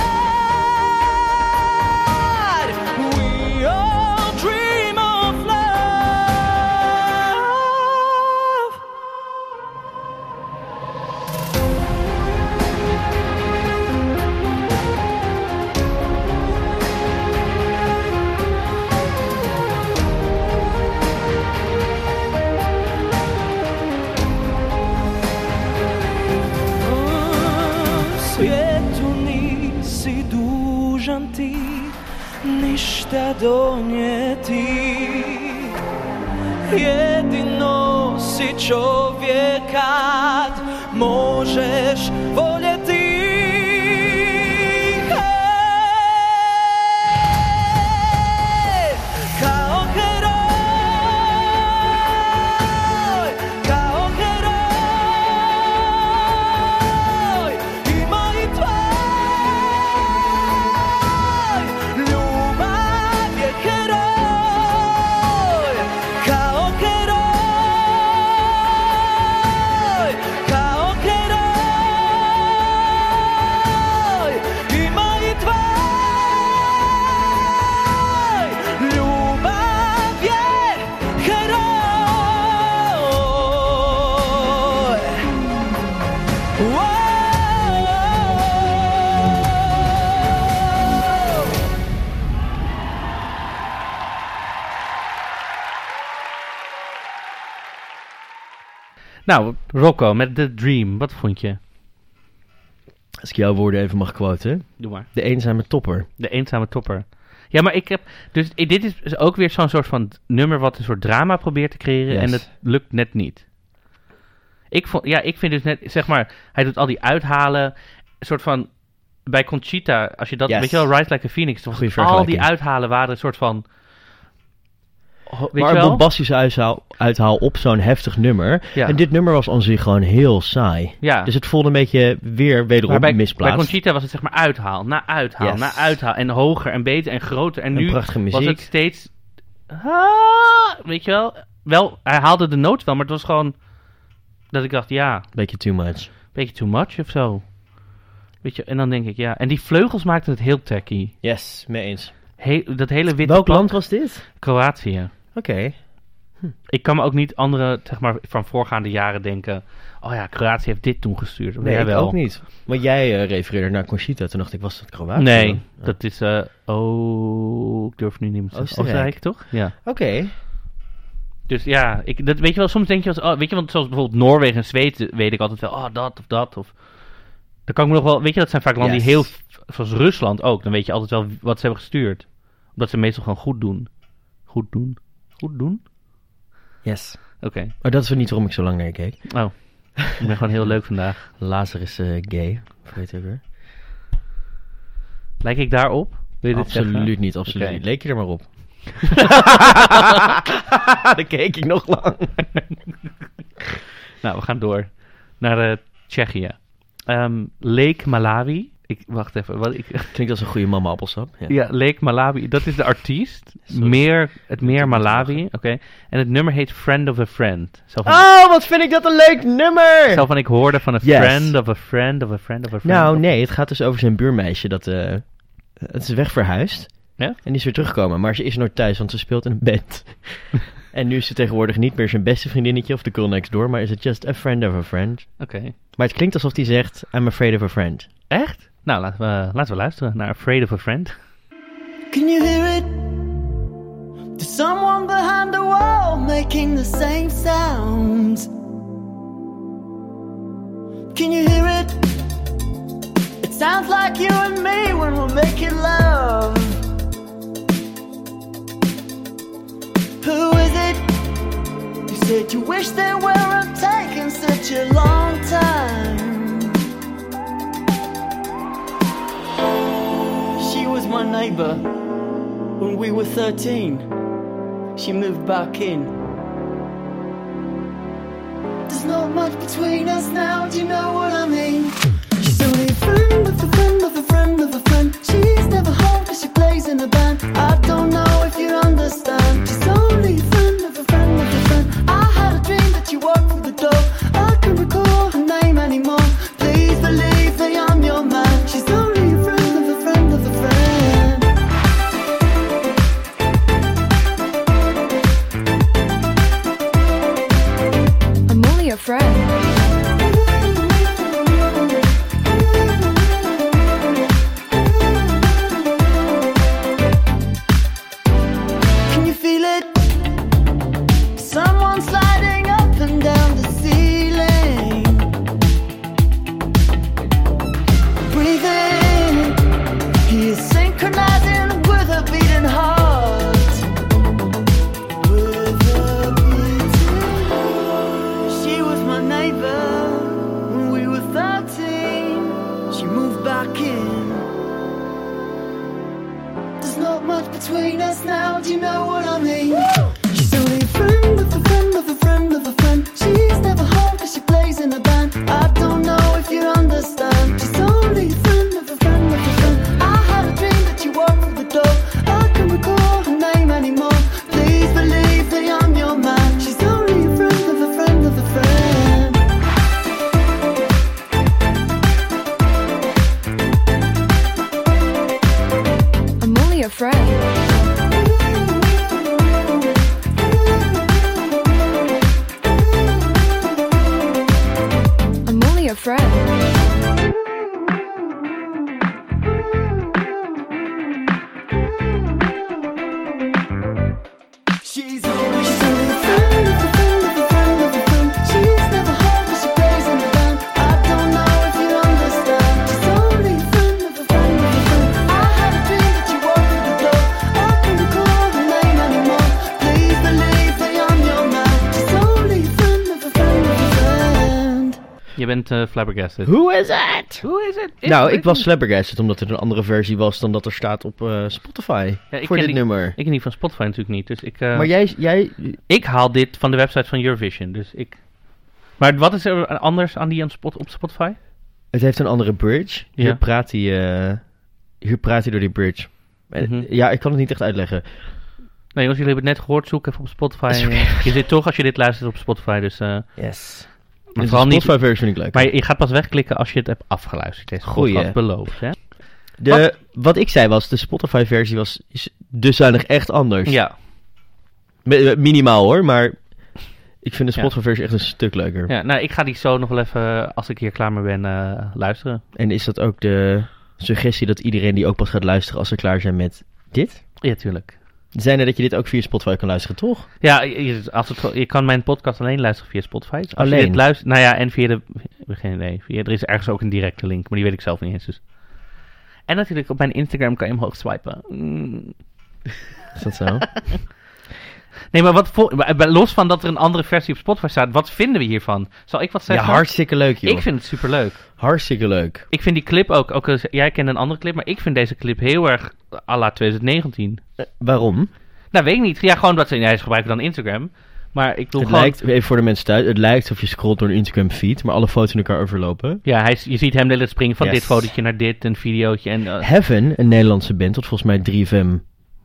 S7: We all dream of love. svijetu nisi dužan ti ništa donijeti Jedino si čovjek kad možeš voljeti Hej, kao heroj, kao heroj, ima i tvoj. Ljubav je heroj, kao heroj, kao heroj, ima i tvoj. Ljubav je heroj. Whoa!
S1: Nou, Rocco met The Dream, wat vond je?
S2: Als ik jouw woorden even mag quoten.
S1: Doe maar.
S2: De eenzame topper.
S1: De eenzame topper. Ja, maar ik heb. Dus i- dit is dus ook weer zo'n soort van nummer wat een soort drama probeert te creëren.
S2: Yes.
S1: En het lukt net niet. Ik vond, ja, ik vind dus net, zeg maar, hij doet al die uithalen. Een soort van. Bij Conchita, als je dat.
S2: Yes.
S1: Weet je wel, Rise Like a Phoenix. Toen was
S2: Goeie
S1: het al die
S2: vergelijking.
S1: uithalen waren een soort van. ho- Weet
S2: maar
S1: je
S2: een
S1: wel?
S2: bombastische uithaal, uithaal op zo'n heftig nummer.
S1: Ja.
S2: En dit nummer was aan zich gewoon heel saai.
S1: Ja.
S2: Dus het voelde een beetje weer wederom
S1: Maar bij, bij
S2: misplaatst.
S1: Conchita was het zeg maar uithaal, na uithaal,
S2: Yes.
S1: na uithaal. En hoger en beter en groter. En,
S2: En
S1: nu
S2: prachtige
S1: was
S2: muziek.
S1: het steeds... Ah, weet je wel? wel? Hij haalde de noot wel, maar het was gewoon... Dat ik dacht, ja, een
S2: Beetje too much.
S1: beetje too much of zo. Weet je, en dan denk ik, ja. En die vleugels maakten het heel tacky.
S2: Yes, mee eens.
S1: Heel- dat hele witte
S2: Welk
S1: pak-
S2: land was dit?
S1: Kroatië.
S2: Oké.
S1: Ik kan me ook niet andere, zeg maar, van voorgaande jaren denken... Oh ja, Kroatië heeft dit toen gestuurd.
S2: Nee,
S1: ja,
S2: ik
S1: wel.
S2: ook niet. Want jij eh, refereerde naar Conchita. Toen dacht ik, was dat Kroatië?
S1: Nee,
S2: Ja.
S1: dat is... eh, oh, ik durf nu niet meer te zeggen.
S2: Oostenrijk.
S1: Oostenrijk, toch? Ja.
S2: Oké.
S1: Dus ja, ik, dat, weet je wel, soms denk je als, oh, weet je, want zoals bijvoorbeeld Noorwegen en Zweden, weet ik altijd wel, oh, dat of dat. Of, dan kan ik me nog wel, weet je, dat zijn vaak landen die
S2: Yes.
S1: heel, zoals Rusland ook, dan weet je altijd wel wat ze hebben gestuurd. Omdat ze meestal gewoon goed doen. Goed doen? Goed doen?
S2: Yes.
S1: Oké.
S2: Maar dat is wel niet waarom ik zo lang naar je keek.
S1: Oh, ik ben gewoon heel leuk vandaag.
S2: Lazarus eh gay. Weet je ook weer?
S1: Lijk ik daarop? Wil je dit
S2: Absoluut
S1: zeggen?
S2: niet, absoluut
S1: Oké.
S2: niet. Leek je er maar op. Dan keek ik nog lang.
S1: Nou, we gaan door naar eh, Tsjechië. Ehm Lake Malawi. Ik Ik, wacht even. Wat ik,
S2: Klinkt als een goede mama appelsap. Ja.
S1: ja, Lake Malawi. Dat is de artiest.
S2: Sorry.
S1: Meer, het meer
S2: moet
S1: Malawi.
S2: lachen.
S1: Oké. En het nummer heet Friend of a Friend. Zo van,
S2: Oh, wat vind ik dat een leuk nummer!
S1: zo van ik hoorde van een
S2: Yes.
S1: friend of a friend of a friend of a friend.
S2: Nou,
S1: of-
S2: nee, het gaat dus over zijn buurmeisje dat eh, het is wegverhuisd.
S1: Ja?
S2: En die is weer teruggekomen, maar ze is nooit thuis, want ze speelt in een band. en nu is ze tegenwoordig niet meer zijn beste vriendinnetje of de girl next door, maar is het just a friend of a friend.
S1: Oké.
S2: Maar het klinkt alsof hij zegt, I'm afraid of a friend.
S1: Echt? Nou, laten we, laten we luisteren naar Afraid of a Friend.
S3: Can you hear it? There's someone behind the wall making the same sounds. Can you hear it? It sounds like you and me when we're making love. Who is it? You said you wish they weren't taking such a long time. She was my neighbor when we were 13. She moved back in. There's not much between us now, do you know what I mean? She's only a friend of a friend of a friend of a friend. She's never home 'cause she plays in a band. I don't know if you understand. She's only a friend of a friend of a friend. I had a dream that you walked through the door. I can't recall her name anymore. Please believe that I'm your man. She's only a friend of a friend of a friend.
S8: I'm only a friend.
S3: Can you feel it? Someone sliding up and down the ceiling. Breathe in. He is synchronizing with a beating heart. With a beating heart. She was my neighbor when we were 13. She moved back in. There's not much between us now, do you know what I mean? She's only a friend of a friend of a friend of a friend. She's never home 'cause she plays in a band. I don't know if you understand. She's only a friend of a friend of a friend. I had a dream that you walked through the door. I can't recall her name anymore. Please believe that I'm your man. She's only a friend of a friend of a friend.
S8: I'm only a friend. I'm only a friend.
S3: She's only She's only a friend of a friend of a friend of a friend. She's never home, but she plays in the band. I don't know if you understand. She's only a friend of a friend of a friend. I had a dream that you walked through the door. I can't recall her name anymore. Please believe that I'm your man. She's only a friend of a friend of a friend.
S1: Je bent eh, flabbergasted.
S2: Hoe is het?
S1: Hoe is het? Is
S2: Nou,
S1: het-
S2: ik was flabbergasted omdat het een andere versie was dan dat er staat op eh, Spotify.
S1: Ja, ik
S2: voor
S1: ken
S2: dit
S1: die-
S2: nummer.
S1: Ik niet van Spotify natuurlijk niet, dus ik... eh,
S2: Maar jij, jij,
S1: Ik haal dit van de website van Eurovision, dus ik... Maar wat is er anders aan die aan spot, op Spotify?
S2: het heeft een andere bridge.
S1: Ja.
S2: Hier praat hij, eh, hier praat hij door die bridge. En-
S1: Mhm.
S2: Ja, ik kan het niet echt uitleggen.
S1: Nee, jongens, jullie hebben het net gehoord, zoek even op Spotify. Je zit toch als je dit luistert op Spotify, dus... eh,
S2: Yes.
S1: maar
S2: Dus
S1: vooral
S2: de
S1: niet...
S2: Spotify versie vind ik leuk.
S1: Maar je gaat pas wegklikken als je het hebt afgeluisterd. Deze
S2: Goeie.
S1: podcast beloofd, hè?
S2: de, wat? ik zei was, de Spotify versie was is dusdanig echt anders.
S1: Ja,
S2: Mi- eh, Minimaal hoor, maar ik vind de
S1: Ja.
S2: Spotify versie echt een stuk leuker.
S1: ja, nou, ik ga die zo nog wel even, eh, als ik hier klaar mee ben, eh, luisteren.
S2: En is dat ook de suggestie dat iedereen die ook pas gaat luisteren als ze klaar zijn met dit?
S1: Ja, tuurlijk.
S2: Zijn er dat je dit ook via Spotify kan luisteren, toch?
S1: Ja, je, je- als het, je kan mijn podcast alleen luisteren via Spotify. Dus Als Je
S2: Alleen?
S1: dit luistert, nou ja, en via de... Geen idee. Via, er is ergens ook een directe link, maar die weet ik zelf niet eens. Dus. En natuurlijk op mijn Instagram kan je omhoog swipen. Mm.
S2: Is dat zo?
S1: Nee, maar wat voor, maar- maar los van dat er een andere versie op Spotify staat, wat vinden we hiervan? Zal ik wat
S2: ja,
S1: zeggen?
S2: hartstikke leuk joh.
S1: Ik vind het superleuk.
S2: Hartstikke leuk.
S1: Ik vind die clip ook, ook als- jij kent een andere clip, maar ik vind deze clip heel erg à la 2019.
S2: Waarom?
S1: Nou, weet ik niet. Ja, gewoon dat ze, ja, ze gebruiken dan Instagram. Maar ik bedoel
S2: Het
S1: gewoon...
S2: lijkt, even voor de mensen thuis, het lijkt alsof je scrolt door een Instagram feed, maar alle foto's in elkaar overlopen.
S1: Ja, hij, is- je ziet hem de hele tijd springen van
S2: Yes.
S1: dit fotootje naar dit, een videootje en... eh,
S2: Heaven, een Nederlandse band, wat volgens mij 3FM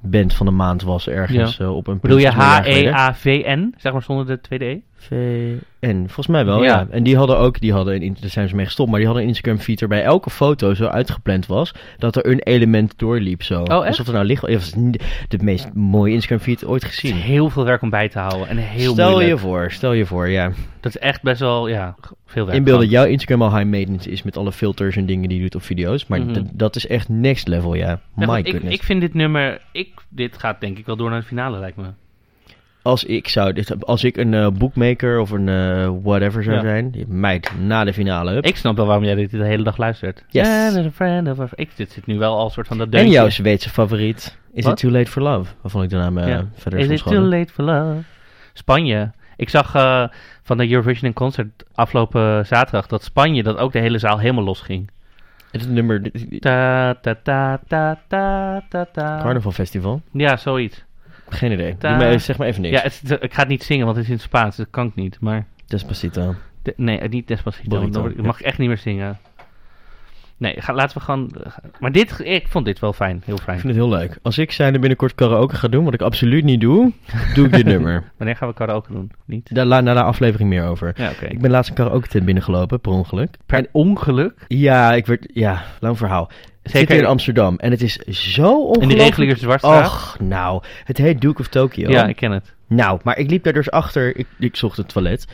S2: band van de maand was ergens eh, op een...
S1: bedoel je E
S2: punt, volgens mij een jaar
S1: H-E-A-V-N? Zeg maar zonder de 2D?
S2: geleden. VN, volgens mij wel, ja.
S1: Ja.
S2: En die hadden ook, die hadden, een, in- daar zijn ze mee gestopt, maar die hadden een Instagram feed waarbij elke foto zo uitgepland was, dat er een element doorliep
S1: Oh,
S2: zo.
S1: echt?
S2: Alsof er nou licht... Het was niet de meest mooie Instagram feed ooit
S1: Het is
S2: gezien.
S1: heel veel werk om bij te houden en heel
S2: stel
S1: moeilijk.
S2: je voor, stel je voor, ja.
S1: Dat is echt best wel, ja, veel werk.
S2: Inbeeld dat jouw Instagram al high maintenance is met alle filters en dingen die je doet op video's. Maar
S1: Mhm.
S2: d- dat is echt next level, ja.
S1: Ja,
S2: My
S1: want ik,
S2: goodness.
S1: ik vind dit nummer... Ik, dit gaat denk ik wel door naar de finale, lijkt me.
S2: Als ik zou dit, als ik een eh, bookmaker of een eh, whatever zou
S1: Ja.
S2: zijn, die meid na de finale. hup.
S1: Ik snap wel waarom jij dit de hele dag luistert.
S2: Yes.
S1: And a friend of a- Ik, dit zit nu wel al soort van dat
S2: en
S1: deuntje.
S2: jouw Zweedse favoriet. Is
S1: Wat?
S2: it too late for love? Waarvan ik de naam eh,
S1: Ja.
S2: verder
S1: Is
S2: van
S1: it too
S2: schoon.
S1: late for love? Spanje. Ik zag eh, van de Eurovision in Concert afgelopen zaterdag dat Spanje dat ook de hele zaal helemaal los ging.
S2: Het nummer dit- dit-
S1: Ta ta ta ta ta ta ta.
S2: Carnaval Festival.
S1: Ja, zoiets.
S2: Geen idee. Doe
S1: Ta-
S2: maar- zeg maar even niks.
S1: Ja, het, het- ik ga het niet zingen, want het is in het Spaans. Dat kan ik niet. Maar
S2: Despacito.
S1: de- nee, eh, niet Despacito.
S2: Burrito,
S1: Dan word ik-
S2: ja.
S1: mag ik echt niet meer zingen. Nee, ga, laten we gewoon... Maar dit, ik vond dit wel fijn. Heel
S2: Ik
S1: fijn.
S2: vind het heel leuk. Als ik zijnde binnenkort karaoke ga doen, wat ik absoluut niet doe, doe ik dit nummer.
S1: Wanneer gaan we karaoke doen? Niet?
S2: Daar la- na de aflevering meer over.
S1: Ja, oké.
S2: Ik ben laatst een karaoke tent binnengelopen, per ongeluk.
S1: Per ongeluk.
S2: Ja, ik werd... Ja, lang verhaal. Het zit
S1: Zeker-
S2: in Amsterdam en het is zo
S1: In de
S2: ongelooflijk...
S1: reguliere Zwartstraat.
S2: Och, nou. Het heet Duke of Tokyo.
S1: Ja, ik ken het.
S2: Nou, maar ik liep daar dus achter... Ik, ik zocht het toilet.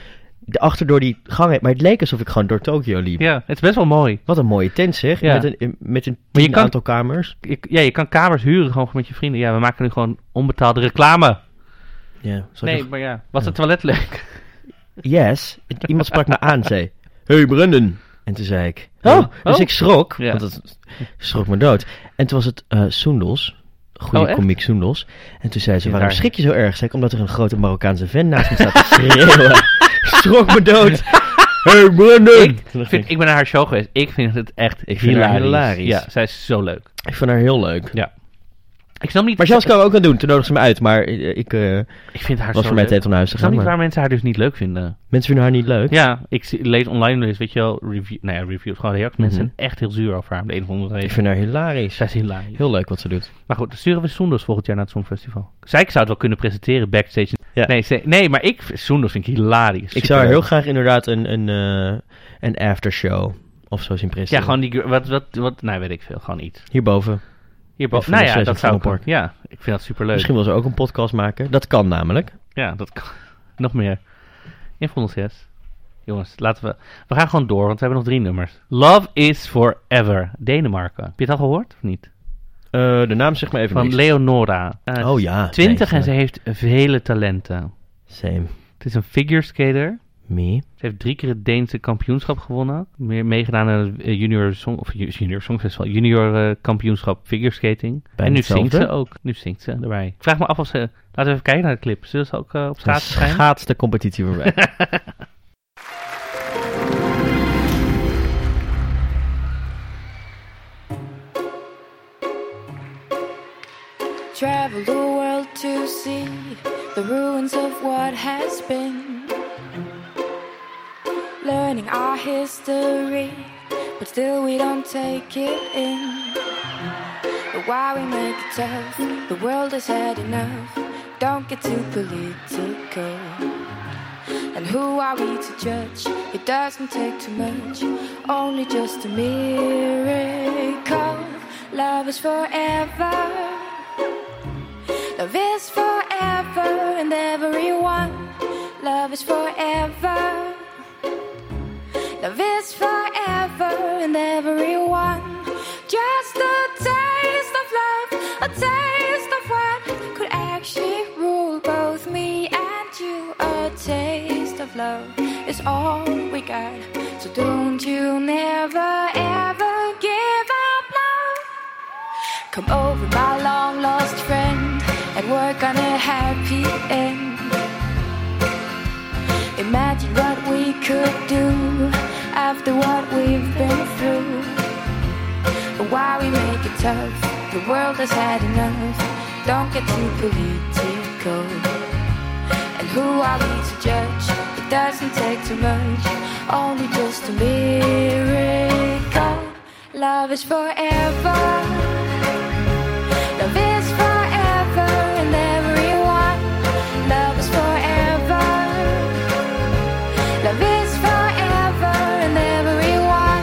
S2: De achter door die gang heen. Maar het leek alsof ik gewoon door Tokyo liep.
S1: Ja, het is best wel mooi.
S2: Wat een mooie tent, zeg.
S1: Ja.
S2: Met een, met een
S1: Maar je
S2: tien
S1: kan-
S2: aantal kamers.
S1: Ik- ja, je kan kamers huren gewoon met je vrienden. Ja, we maken nu gewoon onbetaalde reclame.
S2: Ja, zal ik
S1: Nee,
S2: nog-
S1: maar ja. Was het toilet leuk?
S2: Yes. Iemand sprak me aan en zei... Hey, Brendan. En toen zei ik... Oh, dus
S1: oh.
S2: ik schrok.
S1: Ja.
S2: Want dat schrok me dood. En toen was het eh Soendels. Goede
S1: Oh, echt?
S2: komiek Soendels. En toen zei ze,
S1: Ja,
S2: waarom
S1: daar.
S2: schrik je zo erg? Zei ik, omdat er een grote Marokkaanse vent naast me staat te schreeuwen. schrok me dood. hey, Brendan.
S1: Ik,
S2: Toen dacht
S1: vind,
S2: ik,
S1: ik ben naar haar show geweest. Ik vind het echt ik
S2: vind haar
S1: hilarisch.
S2: hilarisch.
S1: Ja, zij is zo leuk.
S2: ik vond haar heel leuk.
S1: Ik snap niet...
S2: Maar zelfs kan we ook aan doen. Toen nodigde ze me uit. Maar eh, ik eh,
S1: Ik vind haar
S2: was
S1: zo
S2: voor mij
S1: leuk.
S2: tijd om naar huis te
S1: Ik snap
S2: gaan.
S1: niet
S2: maar
S1: waar mensen haar dus niet leuk vinden.
S2: Mensen vinden haar niet leuk.
S1: Ja, ik zie- lees online dus, weet je wel, review, nou ja, reviews, gewoon reacties. Mensen
S2: Mhm.
S1: zijn echt heel zuur over haar, om de een of andere
S2: Ik
S1: reden.
S2: vind haar hilarisch.
S1: Zij is hilarisch.
S2: Heel leuk wat ze doet.
S1: Maar goed, dan sturen we Soenders volgend jaar naar het Songfestival. Zij zou het wel kunnen presenteren, backstage.
S2: Ja.
S1: Nee, ze- nee, maar ik, Soenders vind ik hilarisch.
S2: Ik zou haar
S1: Superleuk.
S2: heel graag inderdaad een, een, eh, een aftershow of zo zien
S1: Ja,
S2: presenteren.
S1: gewoon die... gr- Wat, wat, wat, nee, weet ik veel. Gewoon iets.
S2: Hierboven.
S1: Hierboven.
S2: Van
S1: Nou
S2: de
S1: ja,
S2: zes
S1: dat
S2: op
S1: zou ik
S2: Vondelpark.
S1: ook- Ja, ik vind dat superleuk.
S2: Misschien wil ze ook een podcast maken. Dat kan namelijk.
S1: Ja, dat kan. Nog meer. In Vondel 6. Jongens, laten we... We gaan gewoon door, want we hebben nog drie nummers. Love is Forever. Denemarken. Heb je het al gehoord of niet?
S2: Eh, de naam zegt me even
S1: Van
S2: niks.
S1: Leonora. Eh,
S2: Oh ja.
S1: 20 en ze
S2: nee,
S1: heeft vele talenten.
S2: Same.
S1: Het is een figure skater.
S2: Me.
S1: Ze heeft drie keer het Deense kampioenschap gewonnen. Meer meegedaan aan het eh, junior song, of ju- junior songfestival, junior eh, kampioenschap figureskating.
S2: Bijna
S1: en nu
S2: hetzelfde.
S1: zingt ze ook. Nu zingt ze erbij. Ik vraag me af of ze... Laten we even kijken naar de clip. Zullen ze ook eh, op
S2: Een
S1: straat verschijnen?
S2: schaatste competitie voor mij.
S4: Travel the world to see the ruins of what has been. Learning our history, but still we don't take it in. But why we make it tough, the world has had enough. Don't get too political. And who are we to judge? It doesn't take too much, only just a miracle. Love is forever. Love is forever and everyone. Love is forever. Love is forever and everyone. Just a taste of love, a taste of what could actually rule both me and you. A taste of love is all we got. So don't you never ever give up now. Come over, my long lost friend, and work on a happy end. Imagine what we could do after what we've been through. And why we make it tough, the world has had enough. Don't get too political. And Who are we to judge? It doesn't take too much, only just a miracle. Love is forever. Love is forever and everyone. Love is forever. Love is forever and everyone.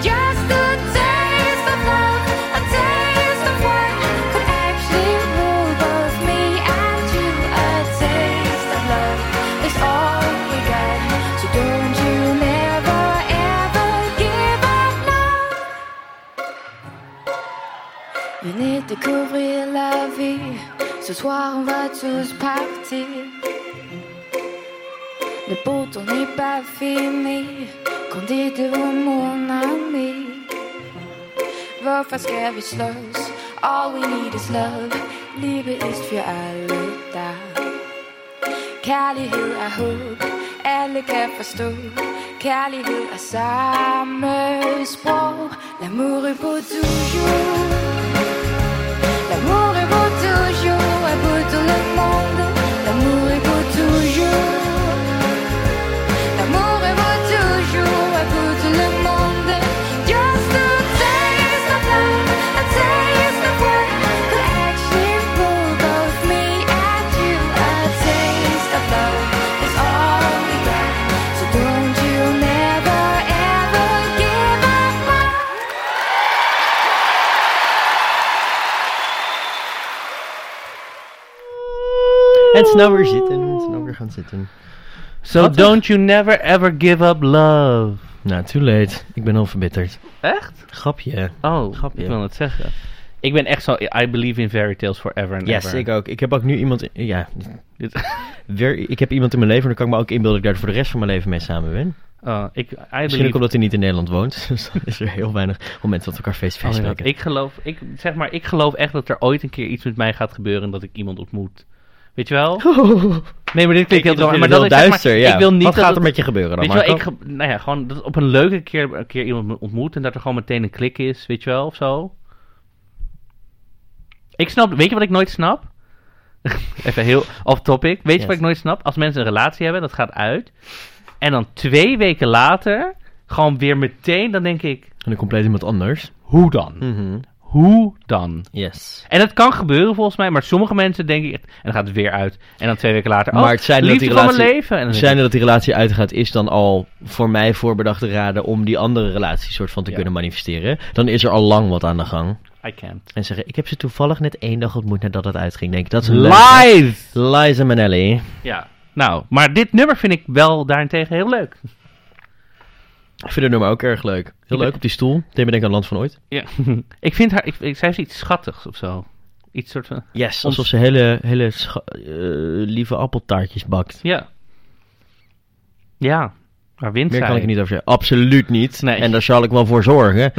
S4: Just a taste of love, a taste of what could actually rule both me and you. A taste of love is all we got. So don't you never ever give up love. Venez découvrir la vie. Ce soir, on va tous partir. Le beau tour n'est pas fini. Quand dites-vous, mon ami? Vår fast ska vi slåss. All we need is love. Livet är för alla. Kärlighet är hopp. Alla kan förstå. Kärlighet är samma språk. L'amour est pour toujours. L'amour est pour toujours et pour tout le monde. L'amour est pour toujours. L'amour est pour toujours et pour tout le monde. Just a taste of love, a taste of what could actually rule both me and you. A taste of love is all we got. So don't you never ever give up love.
S2: En snel weer zitten. En snel weer gaan zitten.
S1: So
S2: Wat?
S1: don't you never ever give up love.
S2: Nou, too late. Ik ben al verbitterd.
S1: Echt?
S2: Grapje.
S1: Oh,
S2: Grapje.
S1: ik wil het zeggen. Ik ben echt zo, I believe in fairy tales forever and
S2: Yes,
S1: ever.
S2: ik ook. Ik heb ook nu iemand... in- Ja,
S1: Dit-
S2: weer, ik heb iemand in mijn leven. Dan kan ik me ook inbeelden dat ik daar voor de rest van mijn leven mee samen ben.
S1: Oh, ik, I
S2: Misschien
S1: believe-
S2: ook omdat hij niet in Nederland woont. Dus dan is er heel weinig momenten dat we elkaar face-to-face
S1: Oh my god,
S2: spreken.
S1: ik geloof, ik, zeg maar, ik geloof echt dat er ooit een keer iets met mij gaat gebeuren en dat ik iemand ontmoet. Weet je wel? Nee, maar dit klinkt heel dramatisch. Maar dat
S2: heel
S1: is, zeg maar,
S2: duister, ja.
S1: Ik wil niet
S2: Wat
S1: dat
S2: gaat
S1: het-
S2: er met je gebeuren dan,
S1: Weet je wel, ik,
S2: Marco?
S1: ge- nou ja, gewoon dat op een leuke keer een keer iemand me ontmoet en dat er gewoon meteen een klik is, weet je wel, of zo. Ik snap, weet je wat ik nooit snap? Even heel off topic. Weet je
S2: Yes.
S1: wat ik nooit snap? Als mensen een relatie hebben, dat gaat uit. En dan twee weken later, gewoon weer meteen, dan denk ik,
S2: En dan compleet iemand anders.
S1: hoe dan?
S2: Hm. Mhm.
S1: Hoe dan?
S2: Yes.
S1: En het kan gebeuren volgens mij, maar sommige mensen denken echt, en dan gaat het weer uit. En dan twee weken later, oh,
S2: Maar het zijn dat
S1: liefde
S2: die
S1: van
S2: relatie,
S1: mijn leven. En dan
S2: het
S1: denk
S2: zijn
S1: ik,
S2: dat die relatie uitgaat is dan al voor mij voorbedacht te raden om die andere relatie soort van te
S1: Ja.
S2: kunnen manifesteren. Dan is er al lang wat aan de gang.
S1: I can't.
S2: En zeggen, ik heb ze toevallig net één dag ontmoet nadat het uitging. Denk ik, dat is een leuke-
S1: Live!
S2: Liza Minnelli.
S1: Ja, nou, maar dit nummer vind ik wel daarentegen heel leuk.
S2: Ik vind het nummer ook erg leuk. Heel
S1: ben-
S2: leuk op die stoel. Deed me denken aan Land van Ooit.
S1: Ja. ik vind haar, ik, ik, zij heeft iets schattigs of zo. Iets soort van,
S2: Yes, alsof ze hele, hele scha- eh, lieve appeltaartjes bakt.
S1: ja. Ja, maar wint
S2: Meer
S1: zij.
S2: kan ik er niet over zeggen. Absoluut niet.
S1: Nee.
S2: En daar zal ik wel voor zorgen.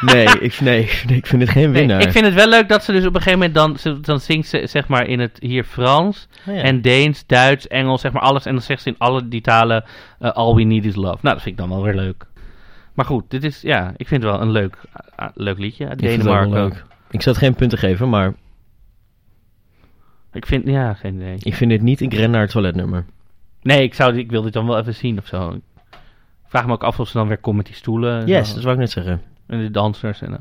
S2: nee, ik, nee, ik vind het geen
S1: Nee,
S2: winnaar.
S1: ik vind het wel leuk dat ze dus op een gegeven moment dan, ze- dan zingt ze zeg maar in het hier Frans
S2: Oh ja.
S1: en Deens, Duits, Engels, zeg maar alles. En dan zegt ze in alle die talen eh, All We Need Is Love. Nou, dat vind ik dan wel weer leuk. Maar goed, dit is, ja, ik vind het wel een leuk, ah, leuk liedje. Uit
S2: Ik vind het ook wel
S1: Denemarken ook.
S2: leuk. Ik zou het geen punten geven, maar
S1: Ik vind, ja, geen idee.
S2: ik vind dit niet. Ik ren naar het toiletnummer.
S1: Nee, ik, zou, ik wil dit dan wel even zien of zo. Ik vraag me ook af of ze dan weer komt met die stoelen. en
S2: Yes,
S1: zo.
S2: dat wou ik net zeggen.
S1: En de dansers. En, eh.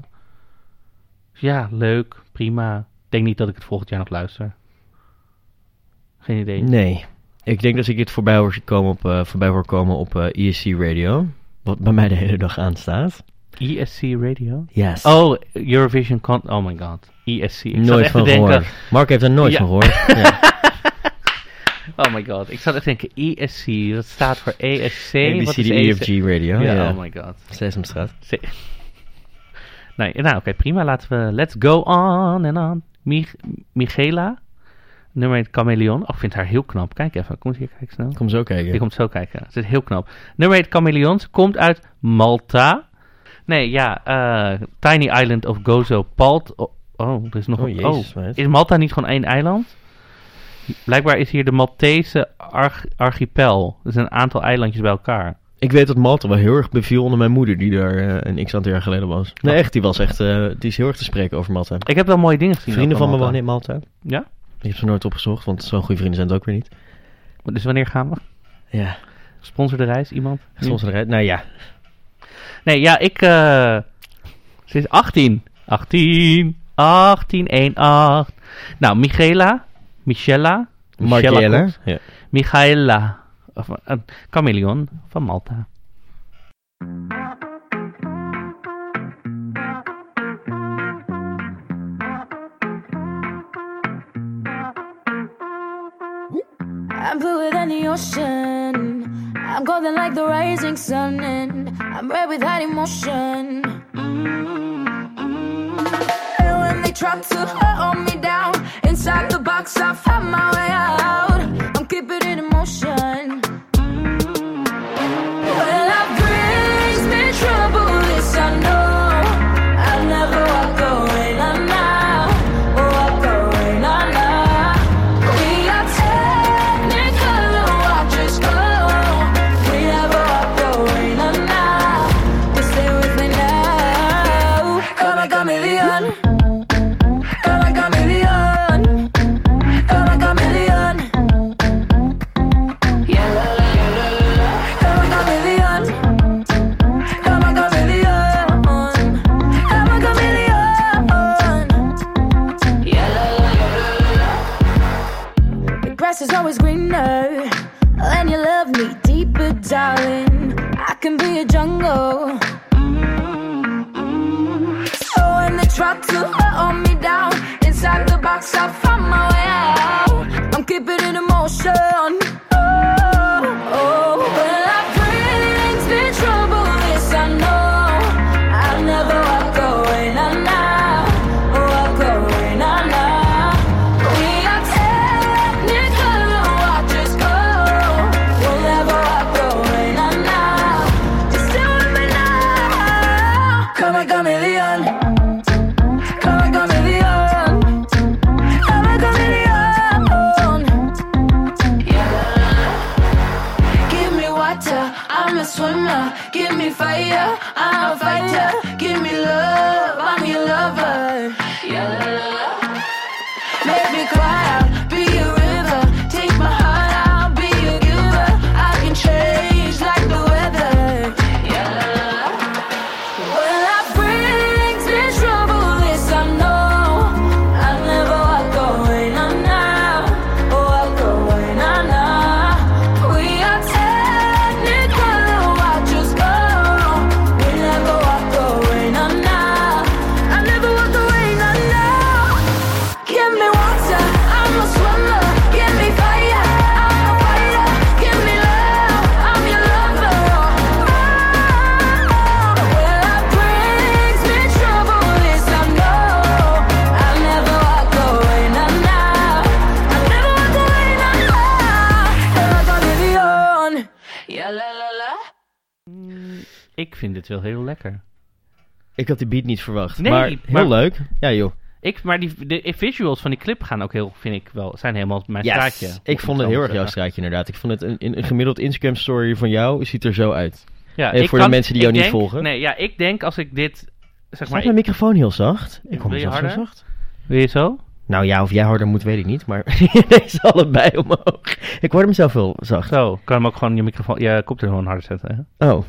S1: Dus ja, leuk, prima. Ik denk niet dat ik het volgend jaar nog luister. Geen idee.
S2: Nee. Ik denk dat ik dit voorbij hoor komen op, eh voorbij hoor komen op eh ESC Radio. Wat bij mij de hele dag aanstaat.
S1: ESC E Radio?
S2: Yes.
S1: Oh, Eurovision Con... Oh my god. ESC. Ik zat
S2: nooit
S1: echt
S2: van
S1: te denken...
S2: gehoord. Mark heeft daar nooit
S1: Ja.
S2: van gehoord. Ja.
S1: Oh my god. Ik zat echt te denken... ESC. Dat staat voor ESC. Wat is
S2: ABCDEFG E Radio.
S1: Ja,
S2: Ja,
S1: oh my god.
S2: Sesamstraat.
S1: Ze- Nee, nou oké, prima. Laten we... Let's go on and on. Mich Michela. Nummer 1 Chameleon. Oh, ik vind haar heel knap. Kijk even. Kom eens hier kijken snel.
S2: Kom zo kijken.
S1: Die komt zo kijken. Het is heel knap. Nummer 1 Chameleon. Ze komt uit Malta. Nee, ja. eh, Tiny Island of Gozo Palt. Oh, oh, er is nog
S2: Oh,
S1: een...
S2: jezus,
S1: oh,
S2: meid.
S1: is Malta niet gewoon één eiland? Blijkbaar is hier de Maltese arch- archipel. Dus een aantal eilandjes bij elkaar.
S2: Ik weet dat Malta wel heel erg beviel onder mijn moeder, die daar eh, een x aantal jaar geleden was. Nee, echt, die was echt, eh, die is heel erg te spreken over Malta.
S1: Ik heb wel mooie dingen gezien.
S2: Vrienden
S1: ook
S2: van me wonen
S1: Malta.
S2: in Malta.
S1: Ja?
S2: Ik heb ze nooit opgezocht, want zo'n goede vrienden zijn het ook weer niet.
S1: Dus wanneer gaan we?
S2: Ja,
S1: Sponsor de reis, iemand?
S2: soms eruit. Nou ja,
S1: Nee, ja, ik... eh ze is 18. 18. 18, 1, 8. Nou, Michela. Michela.
S2: Markiela.
S1: Kops.
S2: Ja.
S1: Michaela. Of, een chameleon van Malta.
S4: I'm bluer than the ocean. I'm golden like the rising sun, and I'm red with hot emotion. Mm-hmm. And when they try to hold me down, inside the box I found my way out. I'm keeping it in motion. Mm-hmm. Well, it brings me trouble, this I know. I'll never walk away now, now. Walk away now, now. We are technicolor watchers go. We never walk away now, now. Just stay with me now. Come a chameleon. Come a chameleon. Come a chameleon. Yeah, la, la, la, la, la. Come a chameleon. Come a chameleon. Come a chameleon. Yeah, la, la, la, la, la. The grass is always greener when you love me deeper, darling. I can be a jungle. So when they try to hold me down inside the box, I found my way out. I'm keeping it in motion. Oh, oh. Well, life brings me trouble, this I know. I'll never walk away now, now. Walk away now, now. We are technical watchers go. We'll never walk away now, now. Just stay with me now. Come a chameleon. Come a chameleon. Come a chameleon. Give me water, I'm a swimmer. Give me fire, I'm a fighter. Give me love, I'm your lover. Make me cry out, be a river. Take my heart out, be a giver. I can change like the weather. Well, that brings me trouble, this I know. I'll never walk away now, now. Walk away now, now. We are technical, watch us go. We never walk away now, now. I never walk away now, now. Give me water, I'm a swimmer. Give me fire, I'm a fighter. Give me love, I'm your lover. Oh, Well, that brings me trouble, this I know. I'll never walk away now, now. I'll never walk away now, now. Never gonna be on. Yeah, la la la.
S1: Ik vind dit wel heel lekker.
S2: ik had die beat niet verwacht.
S1: Nee,
S2: maar heel
S1: maar-
S2: leuk. Ja joh.
S1: Ik, maar die, de visuals van die clip gaan ook heel, vind ik wel, zijn helemaal mijn
S2: Yes.
S1: straatje. moet
S2: Ik vond het
S1: zo
S2: heel
S1: maar
S2: erg jouw
S1: zeggen.
S2: straatje inderdaad. Ik vond het een, een, een gemiddeld Instagram story van jou ziet er zo uit.
S1: Ja,
S2: Eh,
S1: ik
S2: voor de mensen die
S1: ik
S2: jou niet
S1: denk-
S2: volgen.
S1: Nee, ja, ik denk als ik dit, zeg
S2: Staat
S1: maar,
S2: mijn microfoon heel zacht? Ik
S1: Wil
S2: hoor
S1: je
S2: mezelf zo
S1: harder?
S2: zacht.
S1: ik- wil je zo?
S2: Nou ja, of jij harder moet, weet ik niet. Maar deze allebei omhoog. Ik hoorde mezelf heel zacht.
S1: Zo, kan hem ook gewoon je microfoon, je koptelefoon harder zetten. hè?
S2: Oh,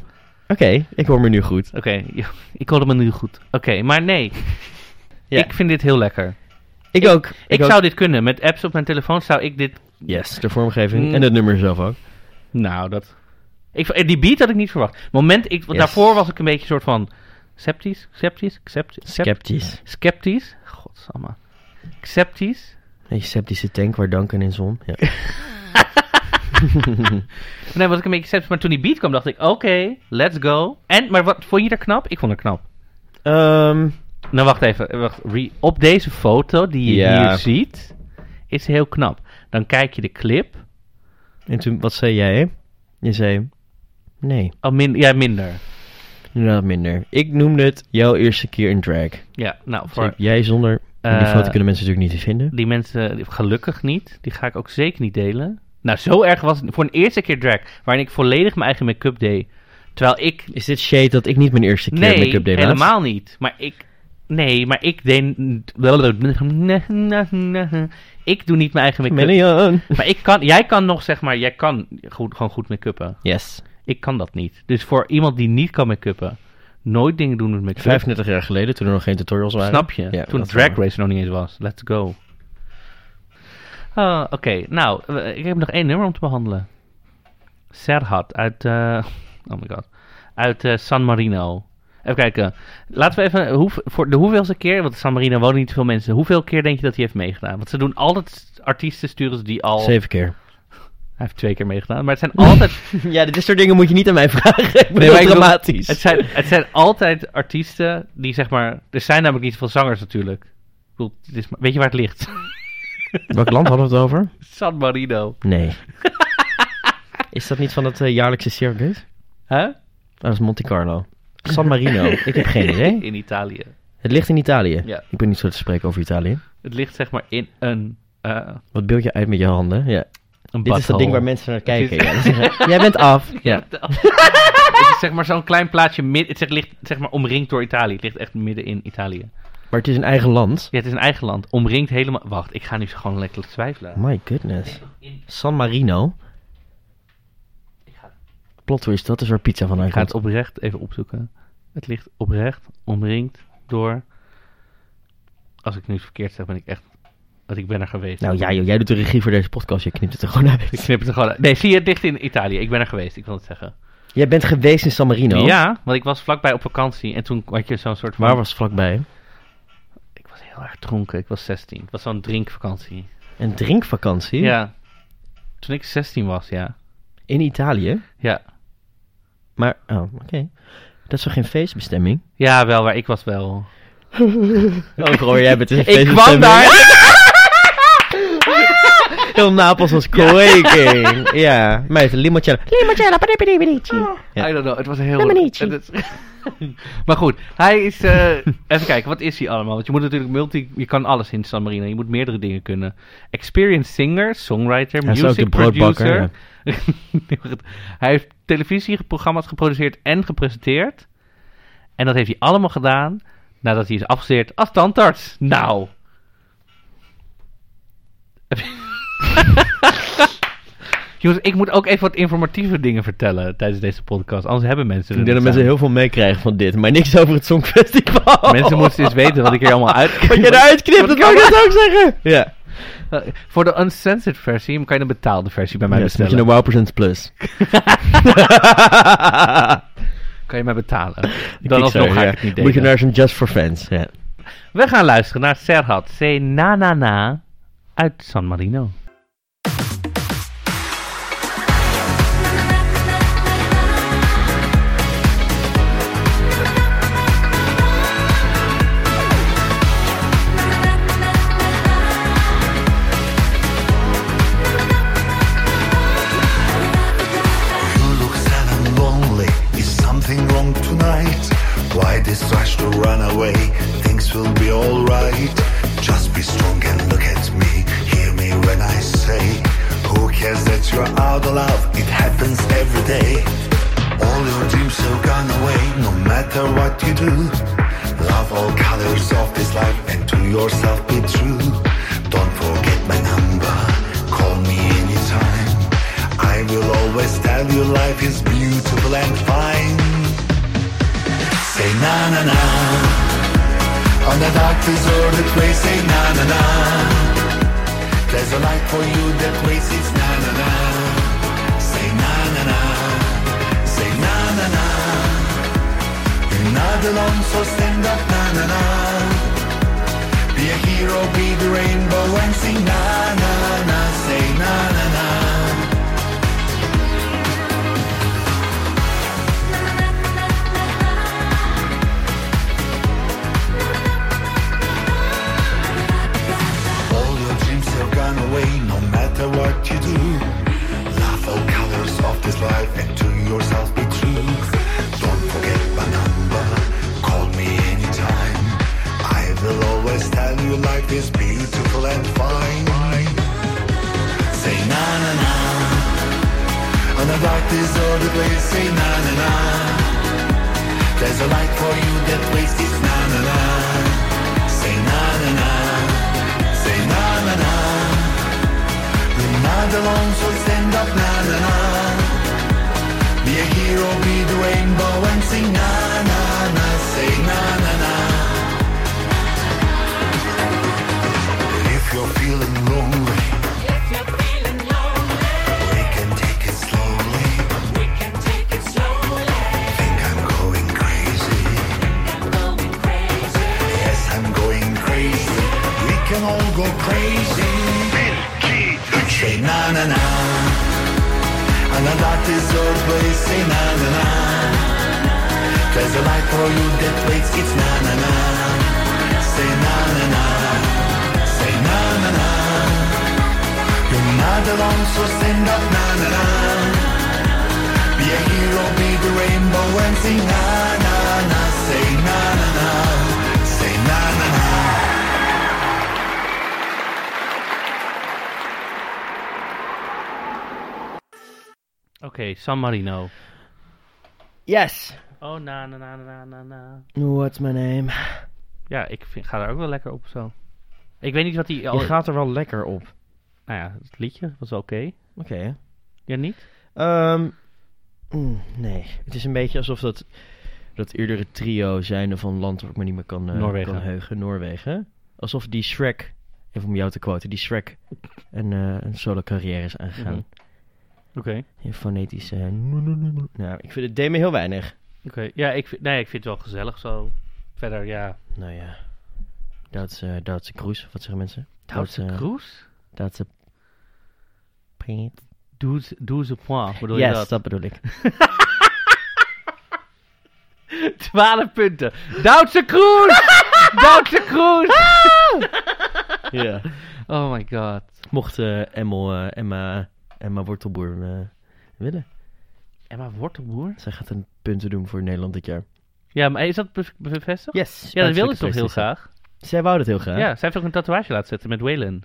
S2: oké. Ik hoor me nu goed.
S1: Oké, ja, ik hoorde me nu goed. Oké, maar nee,
S2: Ja.
S1: ik vind dit heel lekker.
S2: Ik, ook. Ik,
S1: Ik,
S2: ook.
S1: zou dit kunnen. Met apps op mijn telefoon zou ik dit...
S2: Yes, de vormgeving.
S1: Mm.
S2: En het nummer zelf ook.
S1: Nou, dat... Ik, eh, die beat had ik niet verwacht. Moment, ik, want
S2: Yes.
S1: daarvoor was ik een beetje soort van... Sceptisch? Sceptisch? Sceptisch?
S2: Sceptisch.
S1: Sceptisch? Godsamme. Sceptisch?
S2: Een sceptische tank waar Duncan in zon. Ja.
S1: Nee, was ik een beetje sceptisch. Maar toen die beat kwam, dacht ik... Oké, let's go. En, maar wat vond je er knap? Ik vond het knap.
S2: Ehm,
S1: Nou, wacht even. eh, Wacht. Re- op deze foto die je
S2: Ja.
S1: hier ziet... Is heel knap. Dan kijk je de clip...
S2: en toen, wat zei jij? Je zei, nee,
S1: Al Oh, min ja, minder.
S2: inderdaad minder. Ik noemde het jouw eerste keer in drag.
S1: Ja, nou,
S2: Dus
S1: voor
S2: ik- jij zonder, maar die
S1: Eh,
S2: foto kunnen mensen natuurlijk niet vinden.
S1: Die mensen, die- gelukkig niet. Die ga ik ook zeker niet delen. Nou, zo erg was het. Voor een eerste keer drag, waarin ik volledig mijn eigen make-up deed. Terwijl ik...
S2: Is dit shade dat ik niet mijn eerste keer
S1: Nee,
S2: make-up deed? maat?
S1: helemaal niet. Maar ik... Nee, maar ik deed... Ik doe niet mijn eigen make-up.
S2: Million.
S1: Maar ik kan, jij kan nog, zeg maar, jij kan goed, gewoon goed make-uppen.
S2: Yes.
S1: Ik kan dat niet. Dus voor iemand die niet kan make-uppen, nooit dingen doen met make-up.
S2: 35 jaar geleden, toen er nog geen tutorials waren.
S1: Snap je?
S2: Ja,
S1: Toen
S2: dat
S1: Drag
S2: wel.
S1: Race er nog niet eens was. Let's go. Ah, Oké, nou, eh, ik heb nog één nummer om te behandelen. Serhat uit, eh, oh my god, uit eh, San Marino. Even kijken, laten we even, hoe, voor de hoeveelste keer, want in San Marino wonen niet veel mensen, hoeveel keer denk je dat hij heeft meegedaan? Want ze doen altijd artiesten sturen ze die al,
S2: Zeven keer.
S1: hij heeft twee keer meegedaan, maar het zijn altijd,
S2: Ja, dit soort dingen moet je niet aan mij vragen. Ik ben
S1: Nee, maar ik bedoel,
S2: dramatisch.
S1: Het zijn, het zijn altijd artiesten die zeg maar. Er zijn namelijk niet veel zangers natuurlijk. Ik bedoel, het is, maar- weet je waar het ligt?
S2: Welk land hadden we het over?
S1: San Marino.
S2: Nee. Is dat niet van het eh, jaarlijkse circus?
S1: Huh?
S2: Oh, dat is Monte Carlo. San Marino. Ik heb geen idee.
S1: In Italië.
S2: Het ligt in Italië.
S1: Ja.
S2: Ik ben niet zo te spreken over Italië.
S1: Het ligt zeg maar in een. eh
S2: Wat beeld je uit met je handen? Ja.
S1: een
S2: Dit is dat
S1: butthole.
S2: ding waar mensen naar kijken.
S1: Dit-
S2: Ja. Dat zeggen, Jij bent af. Ja.
S1: Het is zeg maar zo'n klein plaatsje. Mid, het zegt- ligt zeg maar omringd door Italië. Het ligt echt midden in Italië.
S2: Maar het is een eigen land.
S1: Ja, het is een eigen land. Omringd helemaal. Wacht, ik ga nu gewoon letterlijk twijfelen.
S2: My goodness. San Marino. Plot twist, dat is waar pizza vandaan
S1: Ik ga het
S2: komt.
S1: oprecht even opzoeken. Het ligt oprecht omringd door. Als ik nu iets verkeerd zeg, ben ik echt. Want ik ben er geweest.
S2: Nou ja, joh, jij doet de regie voor deze podcast. Je knipt het er gewoon
S1: Ik
S2: uit.
S1: knip het er gewoon uit. Nee, zie je, het ligt in Italië. Ik ben er geweest, ik wil het zeggen.
S2: Jij bent geweest in San Marino.
S1: Ja, want ik was vlakbij op vakantie en toen had je zo'n soort van...
S2: Waar was het vlakbij?
S1: Ik was heel erg dronken, ik was 16. Het was zo'n drinkvakantie.
S2: Een drinkvakantie?
S1: Ja. Toen ik 16 was, ja.
S2: In Italië?
S1: Ja.
S2: Maar, oh, oké. Dat is toch geen feestbestemming?
S1: Ja, wel, maar ik was wel...
S2: Overal Oh, jij bent een
S1: Ik kwam daar!
S2: Heel Napels was quaking. Ja, meid, limoncello. Ja.
S1: I don't know, het was heel... Het is- maar goed, hij is... eh, even kijken, wat is hij allemaal? Want je moet natuurlijk multi... Je kan alles in San Marino, je moet meerdere dingen kunnen. Experienced singer, songwriter,
S2: Hij is
S1: music
S2: ook de broodbakker,
S1: producer. hij heeft televisieprogramma's geproduceerd en gepresenteerd. En dat heeft hij allemaal gedaan nadat hij is afgestudeerd als tandarts. Nou. Jongens, ik moet ook even wat informatieve dingen vertellen tijdens deze podcast. Anders hebben mensen
S2: Ik denk
S1: niet
S2: dat mensen
S1: aan.
S2: heel veel meekrijgen van dit, maar niks over het Songfestival.
S1: Mensen moeten eens weten wat ik hier allemaal uit...
S2: Wat je eruit knipt, dat
S1: Wat
S2: kan
S1: kan
S2: ik dat ook zeggen. Ja.
S1: Eh, Voor de uncensored versie kan je een betaalde versie bij mij
S2: Maar yes, moet je
S1: bestellen.
S2: naar Wauw% Plus.
S1: Kan je mij betalen? Dan alsnog ga ik het niet delen.
S2: Moet je naar zo'n Just for Fans. Ja.
S1: We gaan luisteren naar Serhat C. Na Na Na uit San Marino.
S9: You look sad and lonely. Is something wrong tonight? Why this rush to run away? Things will be alright. Just be strong and look at me. Hear me when I say, Who cares that you're out of love? It happens every day. All your dreams have gone away, no matter what you do. Love all colors of this life and to yourself be true. Don't forget my number. Call me anytime. I will always tell you life is beautiful and fine. Say na na na. On the doctor's ordered way, say na na na. There's a light for you that waits, it's na na na. Say na na na. Say na na na. You're not alone, so stand up, na na na. Be a hero, be the rainbow, and sing na na na. Say na na na. All your dreams have gone away, no matter what you do. Laugh all colors of this life and to yourself be true. Don't forget my number, call me anytime. I will always tell you life is beautiful and fine. Say na na na. On the dark deserted place, say na na na. There's a light for you that waits, it's na na na. alone, so stand up, na na na. Be a hero, be the rainbow, and sing na na na, say na na na. And if you're feeling lonely, we can take it slowly. Think I'm going crazy. Yes, I'm going crazy. We can all go crazy. Say na na na. Another is your place. Say na na na. There's a life for you that waits. It's na na na. Say na na na. Say na na na. You're not alone, so stand up, na na na. Be a hero, be the rainbow, and sing na na na. Say na na na. Say na na na.
S1: Oké, San Marino.
S2: Yes.
S1: Oh, na, na, na, na, na, na.
S2: What's my name?
S1: Ja, ik vind, ga daar ook wel lekker op zo. Ik weet niet wat die... al-
S2: Je gaat er wel lekker op.
S1: Nou ja, het liedje was oké.
S2: Oké.
S1: Ja, niet?
S2: Ehm, mm, nee, het is een beetje alsof dat, dat eerdere trio zijnde van land dat ik me niet meer kan, eh,
S1: Noorwegen.
S2: kan heugen, Noorwegen. Alsof die Shrek, even om jou te quoten, die Shrek een, eh, een solo carrière is aangegaan.
S1: Mhm. Oké.
S2: In fonetische... eh, Nou, ik vind het deed me heel weinig.
S1: Oké. Ja, ik, vind- nee, ik vind het wel gezellig zo. Verder, ja...
S2: Nou ja, dat is eh, dat is een cruise, wat zeggen mensen? Dat is,
S1: Duitse
S2: eh,
S1: Kroes?
S2: Dat is een print.
S1: Douze douze points, bedoel je
S2: Yes,
S1: dat?
S2: dat? bedoel ik.
S1: 12 punten. Duitse Kroes! Duitse Kroes!
S2: ja.
S1: Oh my god.
S2: Mocht eh, Emmel, eh, Emma, Emma Wortelboer eh, willen.
S1: Emma Wortelboer?
S2: Zij gaat een punten doen voor Nederland dit jaar.
S1: Ja, maar is dat be- bevestigd?
S2: Yes.
S1: Ja, dat wilde ze toch heel graag?
S2: Zij wou dat heel graag.
S1: Ja, zij heeft ook een tatoeage laten zetten met Waylon.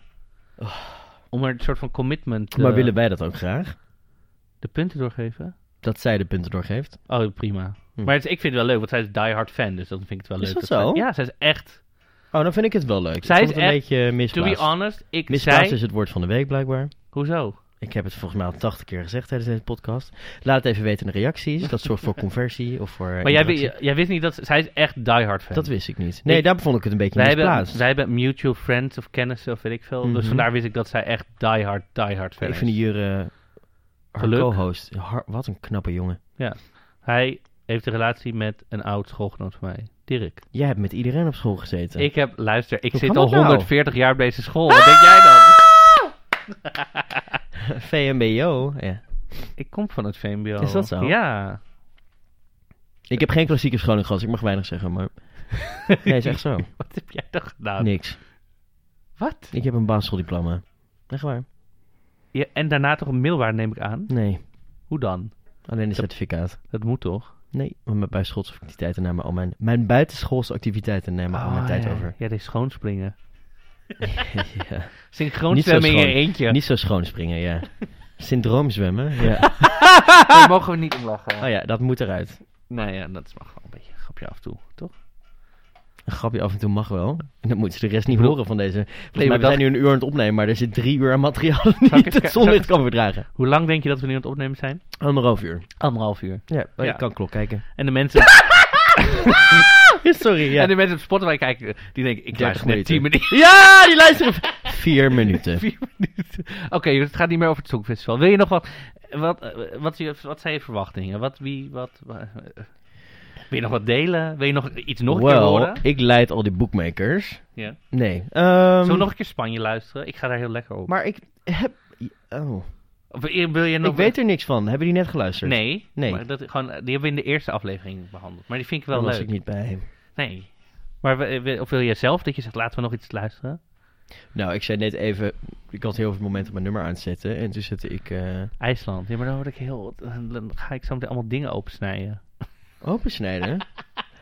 S1: Om er een soort van commitment...
S2: Oh. Maar
S1: eh,
S2: willen wij dat ook graag?
S1: De punten doorgeven?
S2: Dat zij de punten doorgeeft.
S1: Oh, prima.
S2: Hm.
S1: Maar het is- ik vind het wel leuk, want zij is diehard fan, dus dan vind ik het wel
S2: Is
S1: leuk.
S2: dat zo?
S1: zij- ja, zij is echt...
S2: Oh, dan vind ik het wel leuk.
S1: Zij
S2: Ik vond
S1: is
S2: het een
S1: echt-
S2: beetje
S1: To be
S2: misplaatst.
S1: honest, ik
S2: misplaatst
S1: zei...
S2: is het woord van de week blijkbaar.
S1: Hoezo?
S2: Ik heb het volgens mij al tachtig keer gezegd tijdens deze podcast. Laat het even weten in de reacties. Dat zorgt voor conversie of voor eh,
S1: Maar jij,
S2: interactie.
S1: wi- jij wist niet dat... ze- Zij is echt diehard fan.
S2: Dat wist ik niet. Nee,
S1: Ik-
S2: daar vond ik het een beetje
S1: wij hebben,
S2: misplaatst.
S1: wij hebben mutual friends of kennissen of weet ik veel. Dus
S2: Mhm.
S1: vandaar wist ik dat zij echt diehard, diehard fan
S2: ik
S1: is.
S2: vind hier eh, haar
S1: Geluk.
S2: co-host. Har- wat een knappe jongen.
S1: Hij heeft een relatie met een oud schoolgenoot van mij, Dirk.
S2: Jij hebt met iedereen op school gezeten.
S1: Ik heb, luister, ik
S2: Hoe
S1: zit
S2: kan
S1: al
S2: dat nou?
S1: 140 jaar op deze school. Wat denk jij dan?
S2: VMBO. Ja.
S1: Ik kom van het VMBO.
S2: Is dat zo?
S1: Ja.
S2: Ik heb geen klassieke scholing gehad, dus ik mag weinig zeggen, maar... Nee, is echt zo.
S1: Wat heb jij dan gedaan?
S2: Niks.
S1: Wat?
S2: Ik heb een basisschooldiploma. Echt waar?
S1: Ja, en daarna toch een middelbaar neem ik aan?
S2: Nee,
S1: Hoe dan?
S2: alleen een certificaat.
S1: Dat moet toch?
S2: Nee, want mijn buitenschoolse activiteiten namen al mijn... Mijn buitenschoolse activiteiten nemen al mijn
S1: Ah,
S2: tijd
S1: ja.
S2: over.
S1: Ja, dit is schoonspringen.
S2: ja.
S1: Synchroon
S2: Niet zo
S1: zwemmen in je
S2: schoon.
S1: eentje.
S2: Niet zo schoon springen, ja. Syndroomzwemmen, ja.
S1: Daar mogen we niet om lachen.
S2: Oh ja, dat moet eruit.
S1: Ah! Nou ja, dat mag wel een beetje een grapje af en toe, toch?
S2: Een grapje af en toe mag wel. En dan moeten ze de rest niet horen van deze... Volgens
S1: maar
S2: mij, we
S1: dat-
S2: zijn nu een uur aan het opnemen, maar er zit drie uur aan materiaal dat
S1: ik
S2: niet
S1: even-
S2: het
S1: zal ik
S2: zonlicht
S1: even-
S2: kan verdragen.
S1: Hoe lang denk je dat we nu aan het opnemen zijn?
S2: Anderhalf uur.
S1: Anderhalf uur.
S2: Ja, maar
S1: Ja.
S2: ik kan klok kijken.
S1: En de mensen,
S2: Sorry, ja.
S1: en de mensen op Spotify kijken, die denken, ik
S2: 30
S1: luister net 10 minuten.
S2: Ja, die luisteren. Vier minuten.
S1: Vier minuten. Oké, dus het gaat niet meer over het Songfestival. Wil je nog wat? Wat, eh, wat, wat, wat zijn je verwachtingen? Wat, wie, wat, wa- eh, wil je nog wat delen? Wil je nog iets nog een keer
S2: Wel,
S1: horen?
S2: ik leid al die bookmakers.
S1: Ja.
S2: Nee.
S1: Zullen
S2: ehm,
S1: we nog een keer Spanje luisteren? Ik ga daar heel lekker op.
S2: Maar ik heb... Oh.
S1: Of wil je nog
S2: Ik weet er niks van. Hebben die net geluisterd?
S1: Nee,
S2: Nee.
S1: Maar dat, gewoon, die hebben we in de eerste aflevering behandeld. Maar die vind ik wel
S2: Daar was
S1: leuk.
S2: ik niet bij.
S1: Nee. Maar we- we- of wil je zelf dat je zegt, laten we nog iets luisteren?
S2: Nou, ik zei net even... Ik had heel veel momenten mijn nummer aan het zetten. En toen zette ik... eh
S1: IJsland. Ja, maar dan word ik heel... Dan ga ik zo meteen allemaal dingen opensnijden.
S2: opensnijden.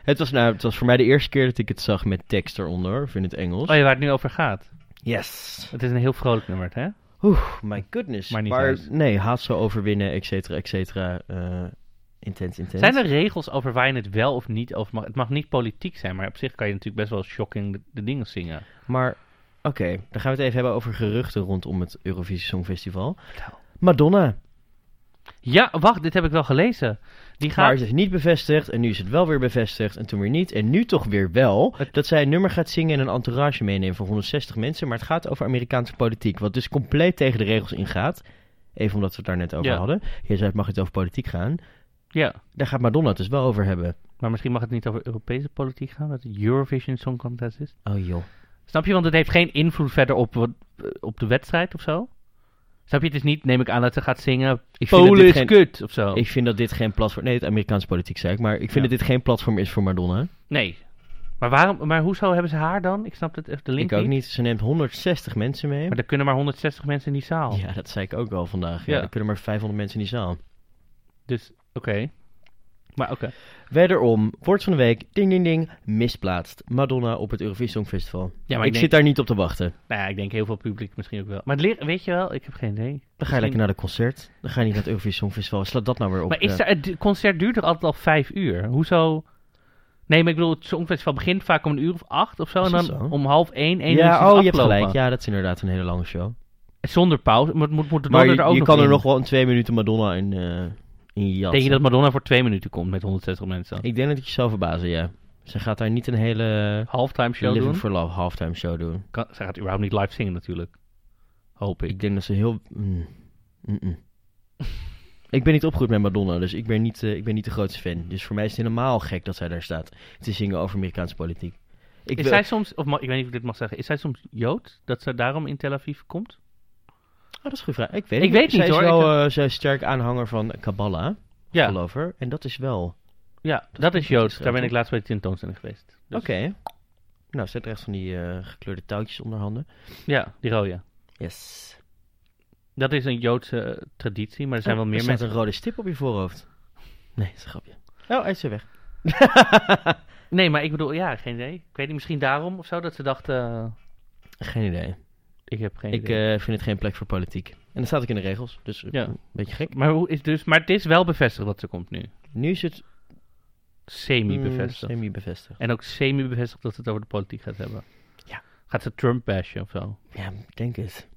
S2: het, was, nou, het was voor mij de eerste keer dat ik het zag met tekst eronder. Of in het Engels.
S1: Oh ja, waar het nu over gaat.
S2: Yes.
S1: Het is een heel vrolijk nummer, hè?
S2: Oeh, my goodness.
S1: Maar niet uit.
S2: nee, haat zo overwinnen, et cetera, et cetera. eh, intens, intens.
S1: Zijn er regels over waar je het wel of niet over mag? Het mag niet politiek zijn, maar op zich kan je natuurlijk best wel shocking de, de dingen zingen.
S2: Maar, oké, Oké, dan gaan we het even hebben over geruchten rondom het Eurovisie Songfestival. Madonna,
S1: Ja, wacht, dit heb ik wel gelezen. Die
S2: maar
S1: gaat...
S2: het is niet bevestigd en nu is het wel weer bevestigd en toen weer niet en nu toch weer wel. Dat zij een nummer gaat zingen en een entourage meeneemt van 160 mensen, maar het gaat over Amerikaanse politiek, wat dus compleet tegen de regels ingaat. Even omdat we het daar net over
S1: Ja.
S2: hadden. Je zei, het mag het over politiek gaan.
S1: Ja,
S2: Daar gaat Madonna het dus wel over hebben.
S1: maar misschien mag het niet over Europese politiek gaan, dat het Eurovision Song Contest is.
S2: Oh joh.
S1: Snap je? Want het heeft geen invloed verder op, wat- eh, op de wedstrijd of zo. Snap je? Het is niet, neem ik aan, dat ze gaat zingen...
S2: Ik vind dat
S1: Polen
S2: dit
S1: is
S2: geen-
S1: kut of zo.
S2: Ik vind dat dit geen platform... Nee, het Amerikaanse politiek zei ik, maar ik vind
S1: Ja.
S2: dat dit geen platform is voor Madonna.
S1: Nee. Maar, waarom, maar hoezo hebben ze haar dan? Ik snap het, eh, de link
S2: ik ook niet. Ze neemt 160 mensen mee.
S1: Maar er kunnen maar 160 mensen in die zaal.
S2: Ja, dat zei ik ook al vandaag. Ja.
S1: Oh. Ja.
S2: Er kunnen maar 500 mensen in die zaal.
S1: Dus, oké. Maar oké.
S2: Wederom, woord van de week, ding ding ding, misplaatst. Madonna op het Eurovisie Songfestival.
S1: Ja, maar
S2: ik
S1: ik denk-
S2: zit daar niet op te wachten.
S1: Nou ja, ik denk heel veel publiek misschien ook wel. Maar het ligt- weet je wel, ik heb geen idee.
S2: Dan ga je
S1: Misschien-
S2: lekker naar de concert. Dan ga je niet naar het Eurovisie Songfestival. Slaat dat nou weer op.
S1: Maar is
S2: ja.
S1: er, het du- concert duurt er altijd al vijf uur? Hoezo? Nee, maar ik bedoel, het Songfestival begint vaak om een uur of acht of zo.
S2: Is
S1: En
S2: dat
S1: dan
S2: zo?
S1: om half één, één uur is
S2: Ja,
S1: het
S2: oh, je hebt
S1: afgelopen.
S2: gelijk. Ja, dat is inderdaad een hele lange show.
S1: Zonder pauze. Maar het moet, moet de
S2: Maar
S1: Madonna
S2: je,
S1: er ook
S2: je
S1: nog
S2: kan er
S1: in.
S2: nog wel een twee minuten Madonna in, eh in je jas.
S1: Denk je dat Madonna voor twee minuten komt met 160 mensen?
S2: Ik denk dat ik je zou verbazen, ja. Ze gaat daar niet een hele
S1: Halftime show
S2: Living
S1: doen?
S2: for Love halftime show doen.
S1: Kan, zij gaat überhaupt niet live zingen natuurlijk. Hoop ik.
S2: Ik denk dat ze heel... mm, mm-mm. ik ben niet opgegroeid met Madonna, dus ik ben, niet, eh, ik ben niet de grootste fan. Dus voor mij is het helemaal gek dat zij daar staat te zingen over Amerikaanse politiek. Ik
S1: is
S2: wil-
S1: zij soms, of ma- ik weet niet of ik dit mag zeggen, is zij soms Jood? Dat ze daarom in Tel Aviv komt?
S2: Oh, dat is een goede vraag. Ik weet,
S1: Ik
S2: het
S1: weet niet,
S2: Zij is
S1: hoor.
S2: wel
S1: Ik heb-
S2: eh, zij is sterk aanhanger van Kabbalah,
S1: Ja.
S2: gelover. En dat is wel...
S1: Ja, dat, is
S2: niet
S1: Joods.
S2: Israël,
S1: Daar ben ik
S2: toch?
S1: laatst bij de tentoonstelling geweest. Dus-
S2: Oké. Nou, zet rechts van die eh, gekleurde touwtjes onder handen.
S1: Ja, die rode.
S2: Yes.
S1: Dat is een Joodse eh, traditie, maar er zijn wel meer
S2: met
S1: mensen.
S2: een rode stip op je voorhoofd. Nee, dat is een grapje. Oh, hij is weer weg.
S1: Nee, maar ik bedoel, ja, geen idee. Ik weet niet, misschien daarom of zo dat ze dachten. eh,
S2: Geen idee.
S1: ik heb geen
S2: Ik
S1: idee.
S2: eh, vind het geen plek voor politiek. En dat staat ook in de regels, dus eh,
S1: Ja.
S2: een beetje gek.
S1: maar, hoe is dus, maar het is wel bevestigd dat ze komt nu.
S2: Nu is het
S1: Semi-bevestigd.
S2: mm, semi-bevestigd.
S1: En ook semi-bevestigd dat ze het over de politiek gaat hebben.
S2: Ja.
S1: Gaat ze Trump bashen of zo? Oké.
S2: Ja, ik denk het.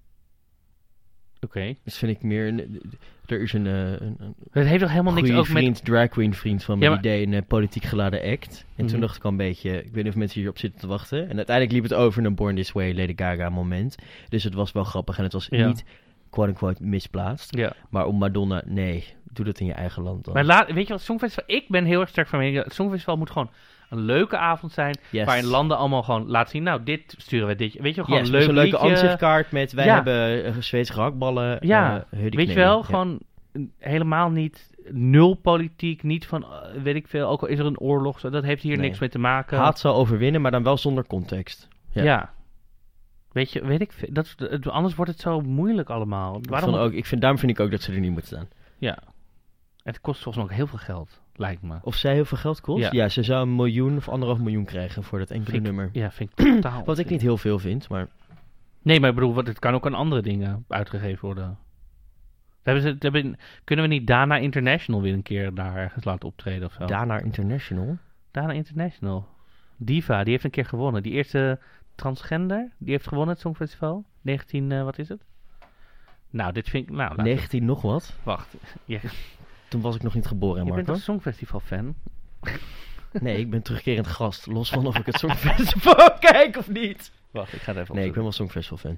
S2: Dus vind ik meer... een- Er is een, eh, een, een
S1: Het heeft toch helemaal niks
S2: goede
S1: ook met.
S2: vriend, drag queen vriend van me,
S1: Ja,
S2: die
S1: maar-
S2: deed een eh, politiek geladen act. En toen
S1: Mhm.
S2: dacht ik al een beetje... Ik weet niet of mensen hierop zitten te wachten. En uiteindelijk liep het over in een Born This Way Lady Gaga moment. Dus het was wel grappig en het was
S1: Ja.
S2: niet quote-unquote misplaatst.
S1: Ja.
S2: Maar om Madonna, nee, doe dat in je eigen land dan.
S1: Maar laat, weet je wat, Songfestival, ik ben heel erg sterk van mening. Het Songfestival moet gewoon een leuke avond zijn.
S2: Yes.
S1: Waarin landen allemaal gewoon laten zien. Nou, dit sturen we dit. Weet je wel, gewoon
S2: Yes,
S1: leuk
S2: met zo'n leuke
S1: liedje.
S2: ansichtkaart met wij
S1: Ja.
S2: hebben eh, Zweedse gehaktballen.
S1: Ja,
S2: eh, huddekneden.
S1: Weet je wel,
S2: Ja.
S1: gewoon helemaal niet nul politiek. Niet van, eh, weet ik veel, ook al is er een oorlog. zo, Dat heeft hier
S2: Nee.
S1: niks mee te maken.
S2: Haat zal overwinnen, maar dan wel zonder context.
S1: ja.
S2: ja.
S1: Weet je, weet ik veel. Dat, is- het- anders wordt het zo moeilijk allemaal.
S2: Waarom?
S1: Waarom?
S2: ook, ik vind, daarom vind ik ook dat ze er niet moeten staan.
S1: Ja. Het kost volgens mij ook heel veel geld, lijkt me.
S2: Of zij heel veel geld kost?
S1: Ja.
S2: Ja, ze zou een miljoen of anderhalf miljoen krijgen voor dat enkele
S1: Vind ik-
S2: nummer.
S1: Ja, vind ik totaal.
S2: Wat ik niet heel veel vind, maar
S1: Oh. Nee, maar ik bedoel, want het kan ook aan andere dingen uitgegeven worden. Dat Hebben ze, dat hebben, kunnen we niet Dana International weer een keer daar ergens laten optreden of zo?
S2: daarna international.
S1: Dana International. Diva, die heeft een keer gewonnen. Die eerste transgender, die heeft gewonnen het Songfestival. 19, eh, wat is het? Nou, dit vind ik... Nou, laat,
S2: 19 nog wat.
S1: wacht. Je,
S2: Toen was ik nog niet geboren,
S1: je bent
S2: Marco.
S1: een Songfestival-fan.
S2: Nee, ik ben terugkerend gast. Los van of ik het Songfestival kijk of niet.
S1: Wacht, ik ga het even
S2: Nee, ik
S1: opzoeken.
S2: ben wel Songfestival fan.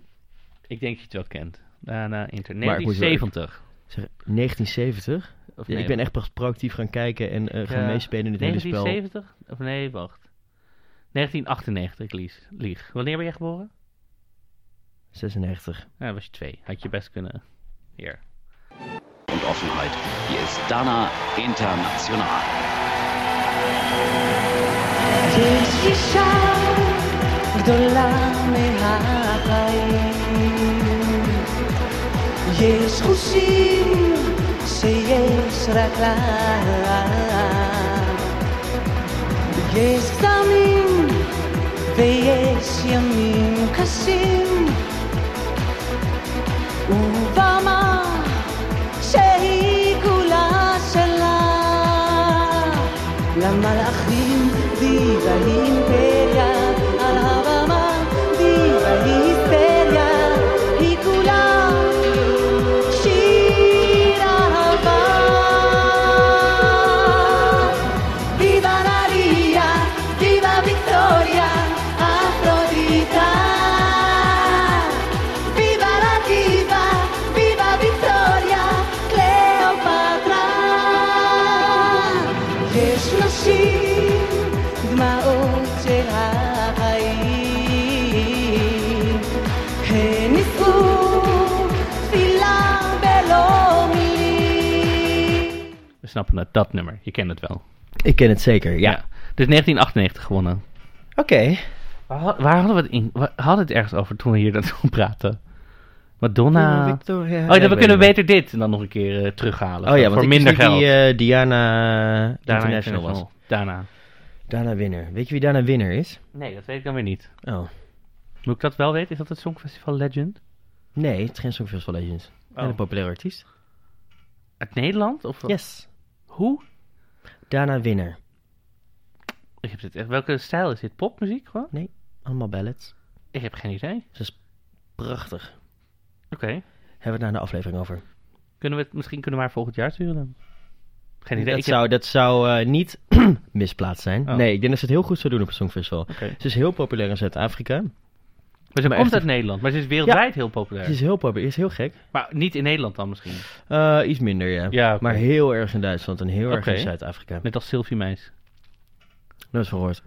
S1: Ik denk dat je het wel kent. Dana International.
S2: Maar ik moet wel-
S1: 1970.
S2: Zeg, 1970?
S1: Of
S2: Ja,
S1: nee,
S2: ik ben echt pro- proactief gaan kijken en eh, gaan
S1: Ja.
S2: meespelen in het hele spel.
S1: 1970? Of nee, wacht. 1998, ik lieg. lieg. Wanneer ben jij geboren?
S2: 96.
S1: Nou, was je twee. Had je best kunnen. Hier.
S10: und Offenheit. Hier ist Dana International.
S6: כאישה גדולה מהחיים. יש חושים שיש רק לה. יש סתמים ויש ימים קשים. ובמה שהיא כולה שלה. למלאכים דיבה היא אימפריה על הבמה דיבה היא
S1: snappen het, dat nummer. Je kent het wel.
S2: Ik ken het zeker, ja.
S1: Dus 1998 gewonnen.
S2: Oké.
S1: Waar, had- waar hadden we het in? We hadden het ergens over toen we hier dat over praten. Madonna. oh,
S2: Victoria.
S1: dan we kunnen
S2: weten.
S1: beter dit dan nog een keer eh, terughalen.
S2: Oh ja, want
S1: voor
S2: ik
S1: minder
S2: zie
S1: geld.
S2: die eh, Diana
S1: Daarna
S2: International was.
S1: Daarna.
S2: Dana Winner. Weet je wie Dana Winner is?
S1: Nee, dat weet ik dan weer niet.
S2: Oh.
S1: Moet ik dat wel weten? Is dat het Songfestival Legend?
S2: Nee, het is geen Songfestival van Legends.
S1: Oh.
S2: En een populair artiest.
S1: Uit Nederland? Of eh,
S2: Yes.
S1: hoe?
S2: Dana Winner.
S1: Ik heb dit echt. Welke stijl is dit? Popmuziek gewoon?
S2: Nee, allemaal ballads.
S1: Ik heb geen idee.
S2: Prachtig.
S1: Oké.
S2: Hebben we het daar in de aflevering over.
S1: Kunnen we het misschien kunnen we maar volgend jaar sturen dan? Geen idee.
S2: dat,
S1: Ik heb-
S2: zou, dat zou eh, niet misplaatst zijn.
S1: Oh.
S2: Nee, ik denk dat ze het heel goed zou doen op het Songfestival.
S1: Oké.
S2: Ze is heel populair in Zuid-Afrika.
S1: Maar ze
S2: Maar
S1: komt
S2: echt-
S1: uit Nederland, maar ze is wereldwijd heel
S2: Ze
S1: populair.
S2: is heel populair, is heel gek.
S1: Maar niet in Nederland dan misschien.
S2: Eh, iets minder, ja.
S1: Ja, oké.
S2: Maar heel erg in Duitsland en heel erg
S1: Oké.
S2: in Zuid-Afrika.
S1: Net als Sylvie Meis.
S2: Dat is verhoord.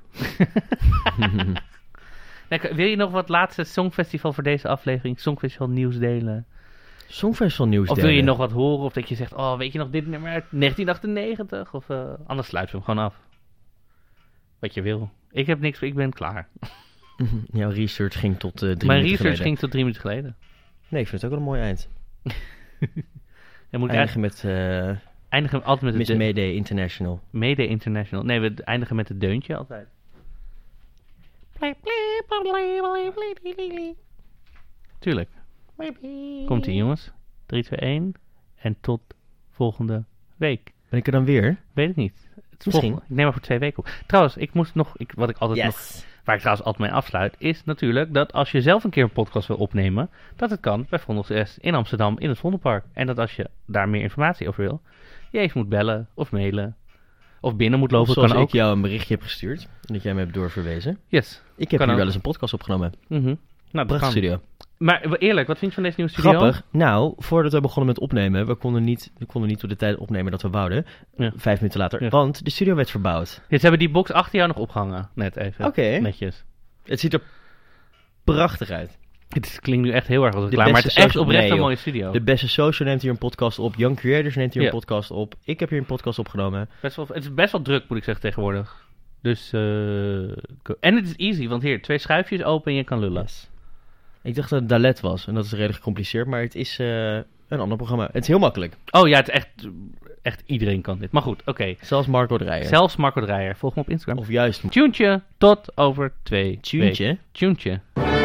S1: Nee, k- wil je nog wat laatste Songfestival voor deze aflevering? Songfestival nieuws delen?
S2: Songfestival nieuws
S1: Of wil je nog wat horen? Of dat je zegt, oh, weet je nog dit nummer uit 1998? Of eh, anders sluiten we hem gewoon af. Wat je wil. Ik heb niks, ik ben klaar.
S2: Jouw research ging tot eh drie
S1: Mijn
S2: minuten
S1: research
S2: geleden.
S1: ging tot drie minuten geleden.
S2: Nee, ik vind het ook wel een mooi eind.
S1: En moet ik
S2: Eindigen met eh
S1: eigenlijk- eindigen we altijd met
S2: Miss
S1: het de-
S2: Mayday International.
S1: Mede International. Nee, we eindigen met het deuntje altijd. Tuurlijk. Komt ie jongens. 3, 2, 1. En tot volgende week.
S2: Ben ik er dan weer?
S1: Weet ik niet. Het is
S2: Misschien.
S1: volgende- Ik neem maar voor twee weken op. Trouwens, ik moest nog, ik, wat ik altijd nog,
S2: Yes.
S1: waar ik trouwens altijd mee afsluit, is natuurlijk dat als je zelf een keer een podcast wil opnemen, dat het kan bij Vondels S in Amsterdam in het Vondelpark. En dat als je daar meer informatie over wil, je even moet bellen of mailen. Of binnen moet
S2: Of
S1: lopen,
S2: zoals
S1: kan ook.
S2: ik jou een berichtje heb gestuurd. En dat jij me hebt doorverwezen.
S1: Yes.
S2: Ik heb
S1: Kan
S2: hier
S1: ook.
S2: wel eens een podcast opgenomen.
S1: Mhm. Nou, dat
S2: Prachtig
S1: kan.
S2: studio.
S1: Maar w- eerlijk, wat vind je van deze nieuwe studio?
S2: Grappig. Nou, voordat we begonnen met opnemen, we konden niet, we konden niet op de tijd opnemen dat we wouden.
S1: Ja.
S2: Vijf minuten later.
S1: Ja.
S2: Want de studio werd verbouwd.
S1: Ja, ze hebben die box achter jou nog opgehangen, net even.
S2: Oké.
S1: Netjes.
S2: Het ziet er prachtig uit.
S1: Het is- klinkt nu echt heel erg als een
S2: De
S1: klaar, maar
S2: beste
S1: het is echt
S2: social-
S1: oprecht
S2: nee,
S1: een
S2: joh.
S1: mooie studio.
S2: De beste social neemt hier een podcast op. Young Creators neemt hier
S1: Ja.
S2: een podcast op. Ik heb hier een podcast opgenomen.
S1: Best wel, het is best wel druk, moet ik zeggen, tegenwoordig. Dus, eh, ko- en het is easy, want hier, twee schuifjes open en je kan lullen.
S2: Ik dacht dat het Dalet was. En dat is redelijk gecompliceerd. Maar het is eh, een ander programma. Het is heel makkelijk.
S1: Oh ja, het is echt, echt iedereen kan dit. Maar goed, oké.
S2: Zelfs Marco Dreyer.
S1: Zelfs Marco Dreyer, volg me op Instagram.
S2: Of juist
S1: Tuntje, tot over twee
S2: Tuentje.
S1: weken. Tuentje.